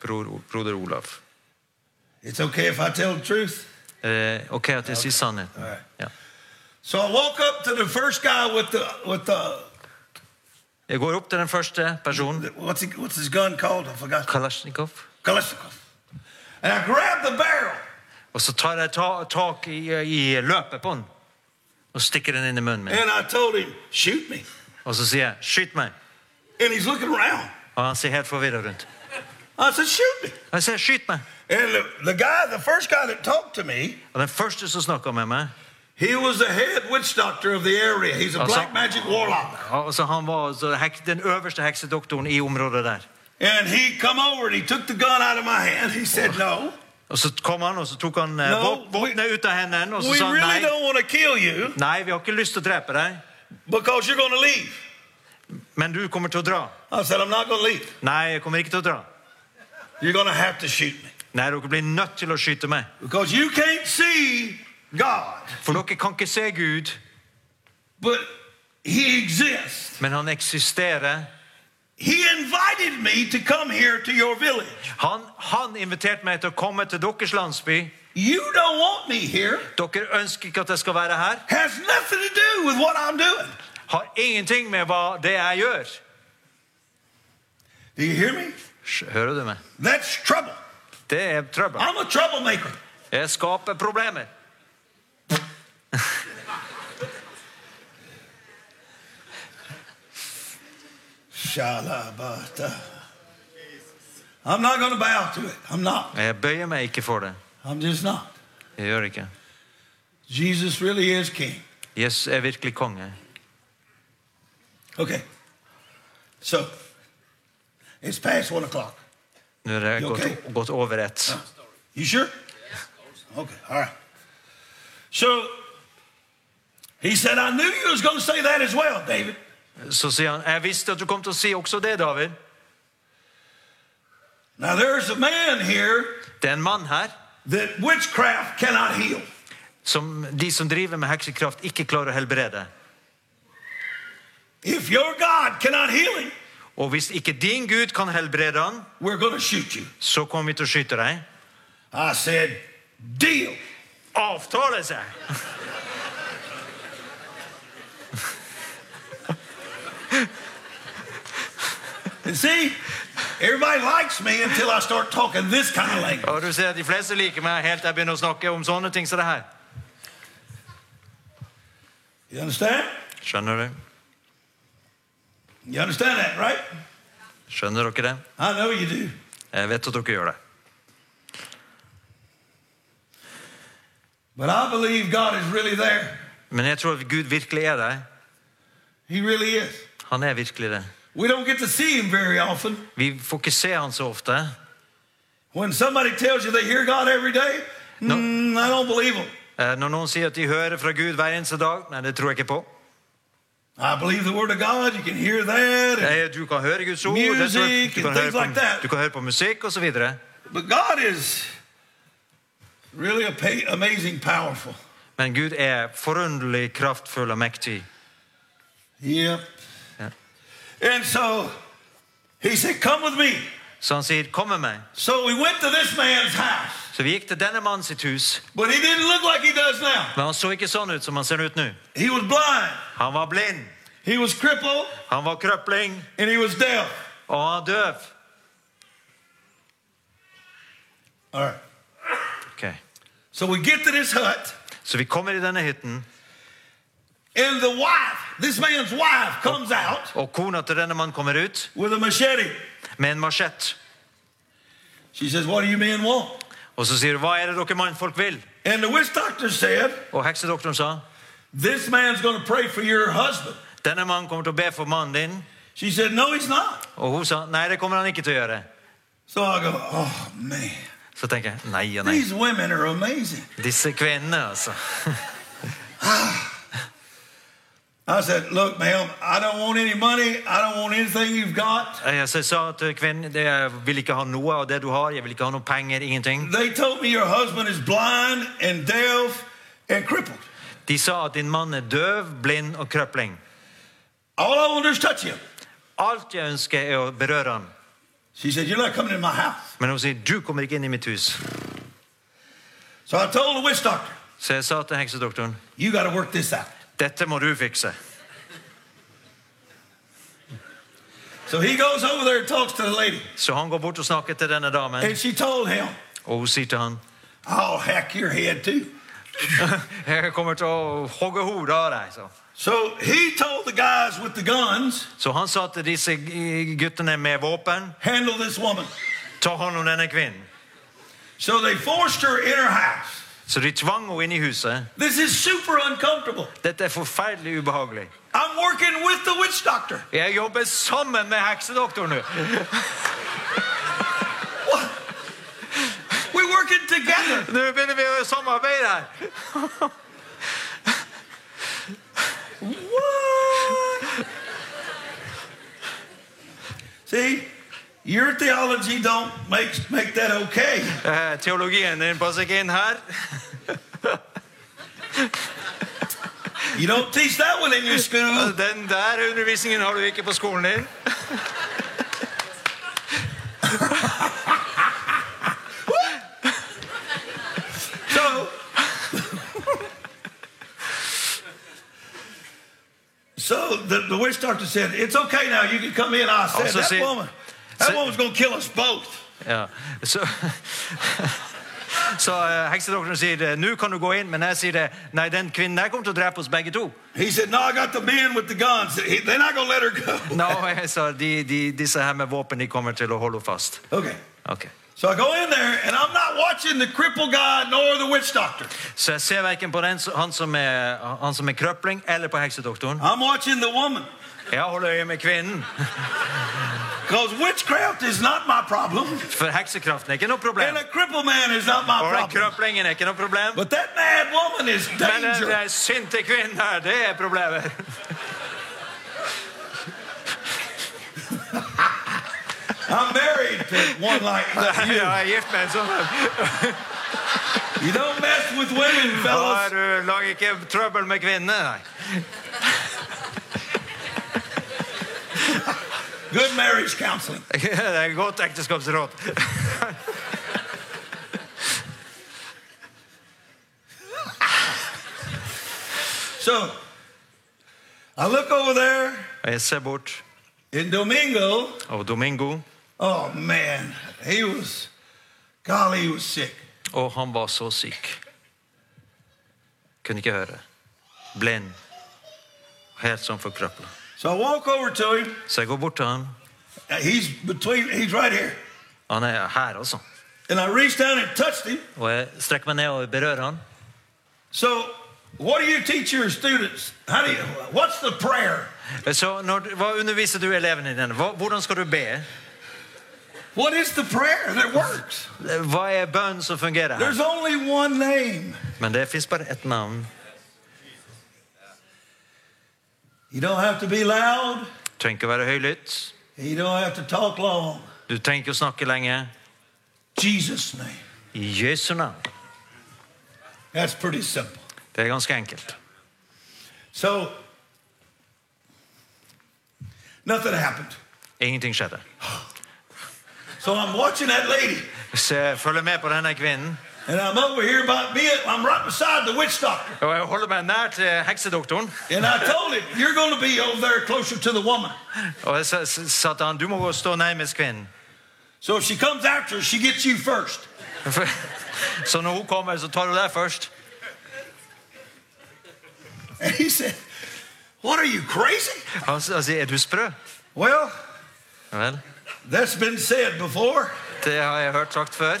Speaker 2: Bror, broder Olav.
Speaker 1: it's okay if I tell the truth.
Speaker 2: Eh, ok, at jeg sier sannheten.
Speaker 1: Alright.
Speaker 2: Ja.
Speaker 1: So I walk up to the first guy with the, with the,
Speaker 2: Jeg går opp til den første personen,
Speaker 1: what's, he, what's his gun called? I forgot.
Speaker 2: Kalasjnikov.
Speaker 1: Kalashnikov. And I grabbed the barrel.
Speaker 2: Og så tar jeg ta, tak i, i løpet på den og stikker den inn i munnen min.
Speaker 1: And I told him, shoot me.
Speaker 2: Og så sier jeg 'skyt meg'.
Speaker 1: And he's looking around.
Speaker 2: Og han ser helt forvirra rundt.
Speaker 1: I said, shoot me.
Speaker 2: Og jeg sier 'skyt meg'.
Speaker 1: And the, the guy, the first guy that talked to me,
Speaker 2: Og den første som snakka med meg
Speaker 1: he was the head witch doctor of the area. He's a
Speaker 2: Oh, so-
Speaker 1: black magic warlock.
Speaker 2: ja, altså Han var altså hek, den øverste heksedoktoren i området der.
Speaker 1: And he come over and he took the gun out of my hand. He said, no,
Speaker 2: Og så kom han, og så tok han eh,
Speaker 1: No,
Speaker 2: våp-
Speaker 1: we-
Speaker 2: våpenet ut av hendene og så
Speaker 1: we
Speaker 2: sa han,
Speaker 1: really
Speaker 2: nei.
Speaker 1: don't want to kill you
Speaker 2: Nei, vi har ikke lyst til å drepe deg,
Speaker 1: because you're going to leave.
Speaker 2: men du kommer til å dra.
Speaker 1: I said, I'm not going to leave.
Speaker 2: Nei, jeg kommer ikke til å dra.
Speaker 1: You're going to have to shoot me
Speaker 2: Nei, dere blir nødt til å skyte meg.
Speaker 1: because you can't see God,
Speaker 2: For dere kan ikke se Gud,
Speaker 1: but he exists.
Speaker 2: men han eksisterer.
Speaker 1: He invited me to come here to your village.
Speaker 2: Han, han inviterte meg til å komme til deres landsby.
Speaker 1: You don't want me here.
Speaker 2: Dere ønsker ikke at jeg skal være her.
Speaker 1: Has nothing to do with what I'm doing.
Speaker 2: Har ingenting med hva det jeg gjør.
Speaker 1: Do you hear me?
Speaker 2: Sj- Hører du meg?
Speaker 1: That's trouble.
Speaker 2: Det er trøbbel.
Speaker 1: I'm a troublemaker.
Speaker 2: Jeg skaper problemer.
Speaker 1: Shalabata. I'm not going to bow to it. I'm not.
Speaker 2: Jeg bøyer meg ikke for det.
Speaker 1: I'm just not.
Speaker 2: Jeg gjør ikke.
Speaker 1: Jesus really is king.
Speaker 2: Jesus er virkelig konge.
Speaker 1: Okay. So, it's past one o'clock.
Speaker 2: Nå er det
Speaker 1: You
Speaker 2: gått,
Speaker 1: okay?
Speaker 2: gått over ett.
Speaker 1: You sure? Okay, all right. So, he said, I knew you was going to say that as well, David.
Speaker 2: Så sier han, jeg visste at du kom til å si også det, David.
Speaker 1: Now, there's a man here
Speaker 2: Det er en mann her
Speaker 1: that witchcraft cannot heal.
Speaker 2: som de som driver med heksekraft, ikke klarer å helbrede.
Speaker 1: If your God cannot heal him,
Speaker 2: Og hvis ikke din Gud kan helbrede han,
Speaker 1: we're going to shoot you.
Speaker 2: så kommer vi til å skyte deg.
Speaker 1: I said, Deal.
Speaker 2: Avtale seg!
Speaker 1: And see, everybody likes me until I start talking this kind of language.
Speaker 2: Og du ser at De fleste liker meg helt til jeg begynner å snakke om sånne ting som det her.
Speaker 1: You understand?
Speaker 2: Skjønner du?
Speaker 1: You understand that, right?
Speaker 2: Skjønner dere det?
Speaker 1: I know you do.
Speaker 2: Jeg vet at dere gjør det.
Speaker 1: But I believe God is really there.
Speaker 2: Men jeg tror at Gud virkelig er der.
Speaker 1: He really is.
Speaker 2: Han er virkelig det.
Speaker 1: We don't get to see him very often.
Speaker 2: Vi får ikke se han så ofte.
Speaker 1: When somebody tells you they hear God every day,
Speaker 2: No.
Speaker 1: mm, I don't believe them.
Speaker 2: Eh, Når noen sier at de hører fra Gud hver eneste dag, nei, det tror jeg ikke på.
Speaker 1: I believe the Word of God. You can hear that. and-
Speaker 2: Nei, Eh, du kan høre Guds ord, det tror jeg-
Speaker 1: Music
Speaker 2: du,
Speaker 1: and
Speaker 2: kan høre
Speaker 1: things like
Speaker 2: på,
Speaker 1: that.
Speaker 2: du kan høre på musikk osv.
Speaker 1: But God is really a pa- amazing, powerful.
Speaker 2: Men Gud er forunderlig kraftfull og mektig.
Speaker 1: Yep.
Speaker 2: Yeah.
Speaker 1: And so he said, Come with me.
Speaker 2: Så han sier, 'Kom med meg'.
Speaker 1: So we went to this man's house.
Speaker 2: Så vi gikk til denne mannen sitt hus,
Speaker 1: But he didn't look like he does now.
Speaker 2: men han så ikke sånn ut som han ser ut nå.
Speaker 1: He was blind,
Speaker 2: Han var blind,
Speaker 1: he was crippled,
Speaker 2: han var krøpling,
Speaker 1: and he was deaf.
Speaker 2: og han var døv.
Speaker 1: All right.
Speaker 2: Ok.
Speaker 1: So we get to this hut,
Speaker 2: Så vi kommer i denne hytten,
Speaker 1: and the wife, this man's wife, comes out
Speaker 2: og kona til denne mannen kommer ut
Speaker 1: with a machete.
Speaker 2: med en marsjett.
Speaker 1: She says, What do you men want?
Speaker 2: Og så sier hun, hva er det dere mannfolk vil?
Speaker 1: And the witch doctor said,
Speaker 2: Og heksedoktoren sa,
Speaker 1: This man's going to pray for your husband.
Speaker 2: denne mannen kommer til å be for mannen din.
Speaker 1: She said, No, he's not.
Speaker 2: Og hun sa, nei, det kommer han ikke til å gjøre.
Speaker 1: So I go, Oh, man.
Speaker 2: Så tenker jeg, nei og nei.
Speaker 1: These women are amazing.
Speaker 2: Disse kvinnene, altså.
Speaker 1: I said, Look, ma'am, I don't want any money. I don't want anything you've got.
Speaker 2: Eh, Jeg så jeg sa til kvinnen, det- jeg vil ikke ha noe av det du har, jeg vil ikke ha noen penger, ingenting.
Speaker 1: They told me your husband is blind and deaf and crippled.
Speaker 2: De sa at din mann er døv, blind og krøpling.
Speaker 1: All I want to do is touch him.
Speaker 2: Alt jeg ønsker er å berøre han.
Speaker 1: She said, You're not coming in my house.
Speaker 2: Men hun sier, du kommer ikke inn i mitt hus.
Speaker 1: So I told the witch doctor,
Speaker 2: Så jeg sa til heksedoktoren,
Speaker 1: You got to work this out.
Speaker 2: dette må du fikse.
Speaker 1: So he goes over there and talks to the lady.
Speaker 2: Så han går bort og snakker til denne damen,
Speaker 1: And she told him,
Speaker 2: og hun sier til han,
Speaker 1: I'll hack your head too.
Speaker 2: jeg kommer til å hogge hodet av deg. Så.
Speaker 1: So he told the guys with the guns,
Speaker 2: så han sa til disse guttene med våpen,
Speaker 1: handle this woman.
Speaker 2: ta hånd om denne kvinnen.
Speaker 1: So they forced her in her house.
Speaker 2: Så de tvang henne inn i huset.
Speaker 1: This is super uncomfortable.
Speaker 2: Dette er forferdelig ubehagelig.
Speaker 1: I'm working with the witch doctor.
Speaker 2: Jeg jobber sammen med heksedoktoren nå.
Speaker 1: What? We're working together.
Speaker 2: Nå begynner vi å samarbeide her.
Speaker 1: What? See, your theology don't make, make that okay.
Speaker 2: Eh, Teologien din passer ikke inn her.
Speaker 1: You don't teach that one in your school.
Speaker 2: Den der undervisningen har du ikke på skolen din.
Speaker 1: So, so the, the witch doctor said, "It's okay now. You can come in." I said,
Speaker 2: Also
Speaker 1: "That
Speaker 2: said-
Speaker 1: woman, that
Speaker 2: said-
Speaker 1: woman's gonna kill us both."
Speaker 2: Ja, så... Så eh, heksedoktoren sier det, nå kan du gå inn, men jeg sier det, nei, den kvinnen der kommer til å drepe oss begge to.
Speaker 1: He said, "No, I got the men with the guns. He- They're not gonna let her go."
Speaker 2: Nå, jeg sa, de, de, disse her med våpen, de kommer til å holde henne fast.
Speaker 1: Okay.
Speaker 2: Ok.
Speaker 1: So I go in there, and I'm not watching the cripple guy nor the witch doctor.
Speaker 2: Så jeg ser hverken på den, han, som er, han som er krøpling, eller på heksedoktoren.
Speaker 1: I'm watching the woman
Speaker 2: Jeg holder øye med kvinnen,
Speaker 1: because witchcraft is not my problem,
Speaker 2: for heksekraften er ikke noe
Speaker 1: and
Speaker 2: problem.
Speaker 1: a cripple man is not my
Speaker 2: Og den
Speaker 1: problem.
Speaker 2: krøplingen er ikke noe problem.
Speaker 1: But that mad woman is
Speaker 2: Men den
Speaker 1: danger.
Speaker 2: der sinte kvinnen her, det er problemet.
Speaker 1: I'm married to one like that.
Speaker 2: Jeg er gift med en sånn.
Speaker 1: You don't mess with women,
Speaker 2: Ja,
Speaker 1: fellas.
Speaker 2: Du lager ikke trøbbel med kvinnene, nei.
Speaker 1: Good marriage counseling.
Speaker 2: Det er et godt ekteskapsråd.
Speaker 1: So I look over there,
Speaker 2: Og jeg ser bort,
Speaker 1: and Domingo,
Speaker 2: og Domingo,
Speaker 1: oh man, he was, golly, he was sick.
Speaker 2: og han var så syk. Kunne ikke høre. Blind. Helt sånn forkrøpla.
Speaker 1: So I walk over to him.
Speaker 2: Så jeg går bort til han.
Speaker 1: Uh, He's between, he's right here.
Speaker 2: Han er her, altså.
Speaker 1: And I reached down and touched him.
Speaker 2: Og jeg strekker meg ned og berører han.
Speaker 1: So, what do you teach your students? How do you, what's the prayer?
Speaker 2: Så når, du- hva underviser du elevene dine? Hva, hvordan skal du be?
Speaker 1: What is the prayer that works?
Speaker 2: Hva er bønnen som fungerer her?
Speaker 1: There's only one name.
Speaker 2: Men det fins bare ett navn.
Speaker 1: You don't have to be loud,
Speaker 2: Du trenger ikke å være høylytt.
Speaker 1: and you don't have to talk long.
Speaker 2: Du trenger ikke å snakke lenge.
Speaker 1: Jesus' name.
Speaker 2: I Jesu navn.
Speaker 1: That's pretty simple.
Speaker 2: Det er ganske enkelt.
Speaker 1: So, nothing happened.
Speaker 2: Ingenting skjedde.
Speaker 1: So I'm watching that lady,
Speaker 2: Så jeg følger med på denne kvinnen.
Speaker 1: and I'm over here by me. I'm right beside the witch doctor.
Speaker 2: Og jeg holder meg nær til heksedoktoren.
Speaker 1: And I told him, You're going to be over there closer to the woman.
Speaker 2: Og jeg sa, sa til han, du må gå og stå nærmest kvinnen.
Speaker 1: So if she comes after, she gets you first.
Speaker 2: For, så når hun kommer, så tar hun deg først.
Speaker 1: And he said, What are you, crazy?
Speaker 2: Han, s- han sier, er du sprø?
Speaker 1: Well,
Speaker 2: Ja Vel,
Speaker 1: that's been said before.
Speaker 2: det har jeg hørt sagt før.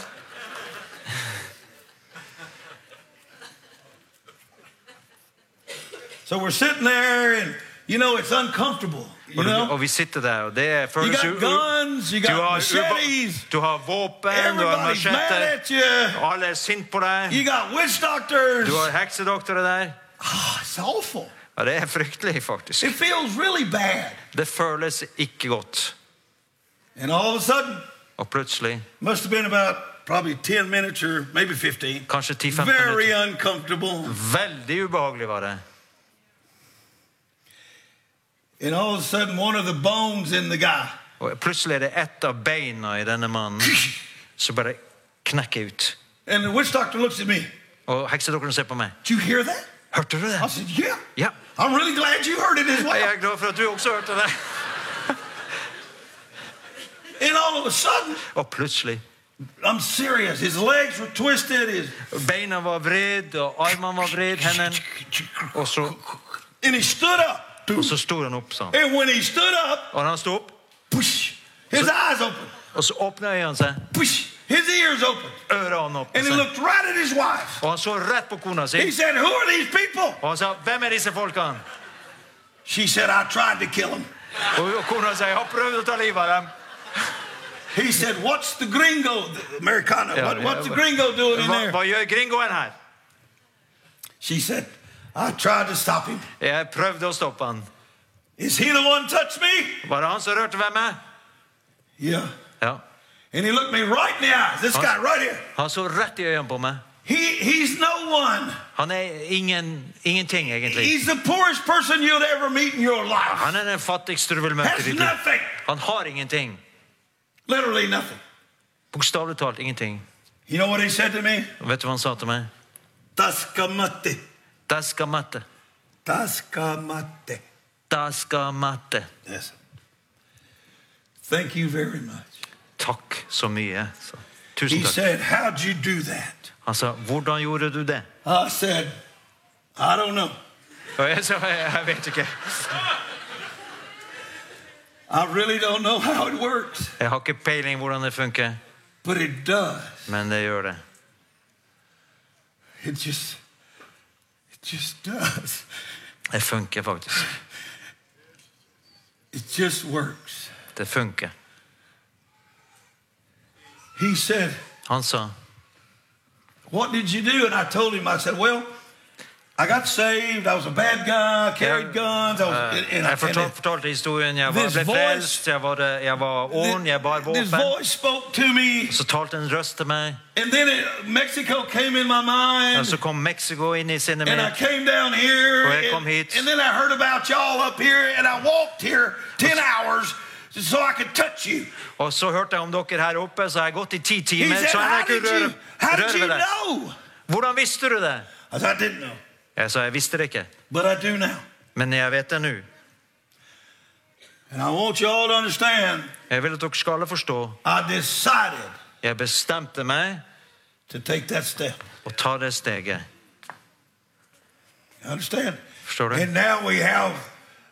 Speaker 1: So we're sitting there, and you know, it's uncomfortable. You
Speaker 2: Og, du,
Speaker 1: know?
Speaker 2: og vi sitter der, og det
Speaker 1: You
Speaker 2: føles
Speaker 1: got
Speaker 2: u-
Speaker 1: guns, you
Speaker 2: Du har,
Speaker 1: got machetes,
Speaker 2: uba- du har våpen, du har
Speaker 1: everybody's mad
Speaker 2: machetter.
Speaker 1: at you.
Speaker 2: Alle er sint på deg.
Speaker 1: You got witch doctors.
Speaker 2: Du har heksedoktorer der.
Speaker 1: Ah, it's awful.
Speaker 2: Ja, det er fryktelig, faktisk.
Speaker 1: It feels really bad.
Speaker 2: Det føles ikke godt.
Speaker 1: And all of a sudden,
Speaker 2: Og plutselig,
Speaker 1: must have been about probably 10 minutes or maybe 15.
Speaker 2: kanskje 10-15
Speaker 1: Very
Speaker 2: minutter.
Speaker 1: uncomfortable.
Speaker 2: Veldig ubehagelig var det.
Speaker 1: And all of a sudden, one of the bones in the guy
Speaker 2: Og plutselig er det ett av beina i denne mannen som bare knekker ut.
Speaker 1: And the witch doctor looks at me.
Speaker 2: Og heksedokkeren ser på meg.
Speaker 1: Did you hear that?
Speaker 2: Hørte du det?
Speaker 1: I said, Yeah.
Speaker 2: Ja.
Speaker 1: I'm really glad you heard it as
Speaker 2: Jeg
Speaker 1: well.
Speaker 2: er glad for at du også hørte det.
Speaker 1: And all of a sudden,
Speaker 2: Og plutselig
Speaker 1: I'm serious. His legs were twisted. His
Speaker 2: Beina var vridd, og armene var vridd, hendene Og så,
Speaker 1: and he stood up.
Speaker 2: og så sto han opp sånn.
Speaker 1: And when he stood up,
Speaker 2: Og når han sto opp,
Speaker 1: push, his eyes open.
Speaker 2: og så åpna øynene seg,
Speaker 1: Push, his ears open.
Speaker 2: ørene opp,
Speaker 1: And he
Speaker 2: og
Speaker 1: looked right at his wife.
Speaker 2: han så rett på kona si.
Speaker 1: He said, Who are these people?
Speaker 2: Og han sa, 'Hvem er disse folkene?'
Speaker 1: She said, I tried to kill him.
Speaker 2: Og og kona sa, 'Jeg har prøvd å ta livet av dem'.
Speaker 1: He said, What's the gringo, the Americano?
Speaker 2: Yeah,
Speaker 1: what,
Speaker 2: yeah,
Speaker 1: what's the
Speaker 2: but-
Speaker 1: gringo doing in
Speaker 2: Hva,
Speaker 1: there?
Speaker 2: hva gjør gringoen her?
Speaker 1: She said, I tried to stop him.
Speaker 2: Jeg prøvde å stoppe han.
Speaker 1: Is he the one touched me?
Speaker 2: Var det han som rørte ved meg?
Speaker 1: Yeah.
Speaker 2: Ja.
Speaker 1: And he looked me right in the eyes. This guy right here.
Speaker 2: Han så rett i øynene på meg.
Speaker 1: He, he's no one.
Speaker 2: Han er ingen, ingenting, egentlig.
Speaker 1: He's the poorest person you'll ever meet in your life.
Speaker 2: Han er den fattigste du vil møte i
Speaker 1: Has
Speaker 2: ditt liv.
Speaker 1: nothing.
Speaker 2: Han har ingenting.
Speaker 1: Literally nothing.
Speaker 2: Bokstavelig talt ingenting.
Speaker 1: You know what he said to me?
Speaker 2: Og vet du hva han sa til meg?
Speaker 1: Taskamate.
Speaker 2: Da skal matte.
Speaker 1: Taskamate.
Speaker 2: Da skal matte.
Speaker 1: Yes. Thank you very much.
Speaker 2: Takk så mye. Så, tusen
Speaker 1: He
Speaker 2: takk.
Speaker 1: said, How'd you do that?
Speaker 2: Han sa, hvordan gjorde du det?
Speaker 1: I said, I don't know.
Speaker 2: Og jeg sa, jeg, jeg vet ikke.
Speaker 1: I really don't know how it works,
Speaker 2: Jeg har ikke peiling hvordan det funker,
Speaker 1: but it does.
Speaker 2: men det gjør det.
Speaker 1: It just, it just does.
Speaker 2: Det funker faktisk.
Speaker 1: It just works.
Speaker 2: Det funker.
Speaker 1: He said,
Speaker 2: Han sa,
Speaker 1: What did you do? And I told him, I said, Well, I got saved. I was a bad guy. I carried guns. I was, and,
Speaker 2: eh,
Speaker 1: and I
Speaker 2: jeg fortal,
Speaker 1: and
Speaker 2: fortalte historien. Jeg var,
Speaker 1: This
Speaker 2: ble
Speaker 1: voice-
Speaker 2: frelst, jeg var, eh, jeg var ond, jeg bar
Speaker 1: this
Speaker 2: våpen.
Speaker 1: voice spoke to me,
Speaker 2: Så talte en røst til meg,
Speaker 1: and then it, Mexico came in my mind,
Speaker 2: og så kom Mexico inn i sinnet
Speaker 1: and I
Speaker 2: mitt.
Speaker 1: came down here,
Speaker 2: Well, come
Speaker 1: and,
Speaker 2: here.
Speaker 1: and then I heard about y'all up here, and I walked here ten hours so I could touch you.
Speaker 2: Og så hørte jeg om dere her oppe, så har jeg gått i ti
Speaker 1: He
Speaker 2: timer.
Speaker 1: said,
Speaker 2: Så
Speaker 1: how
Speaker 2: jeg
Speaker 1: did,
Speaker 2: kunne
Speaker 1: you,
Speaker 2: røre,
Speaker 1: how did
Speaker 2: røre
Speaker 1: you
Speaker 2: ved det.
Speaker 1: know?
Speaker 2: Hvordan visste du det?
Speaker 1: I said, I didn't know,
Speaker 2: Jeg sa, jeg visste det ikke.
Speaker 1: but I do now.
Speaker 2: Men jeg vet det nå.
Speaker 1: And I want y'all to understand,
Speaker 2: Jeg vil at dere skal alle forstå.
Speaker 1: I decided
Speaker 2: Jeg bestemte meg
Speaker 1: to take that step.
Speaker 2: å ta det steget.
Speaker 1: You understand?
Speaker 2: Forstår du?
Speaker 1: And now we have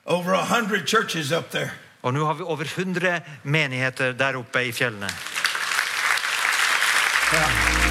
Speaker 1: over a hundred churches up there.
Speaker 2: Og nå har vi over 100 menigheter der oppe i fjellene.
Speaker 1: Now,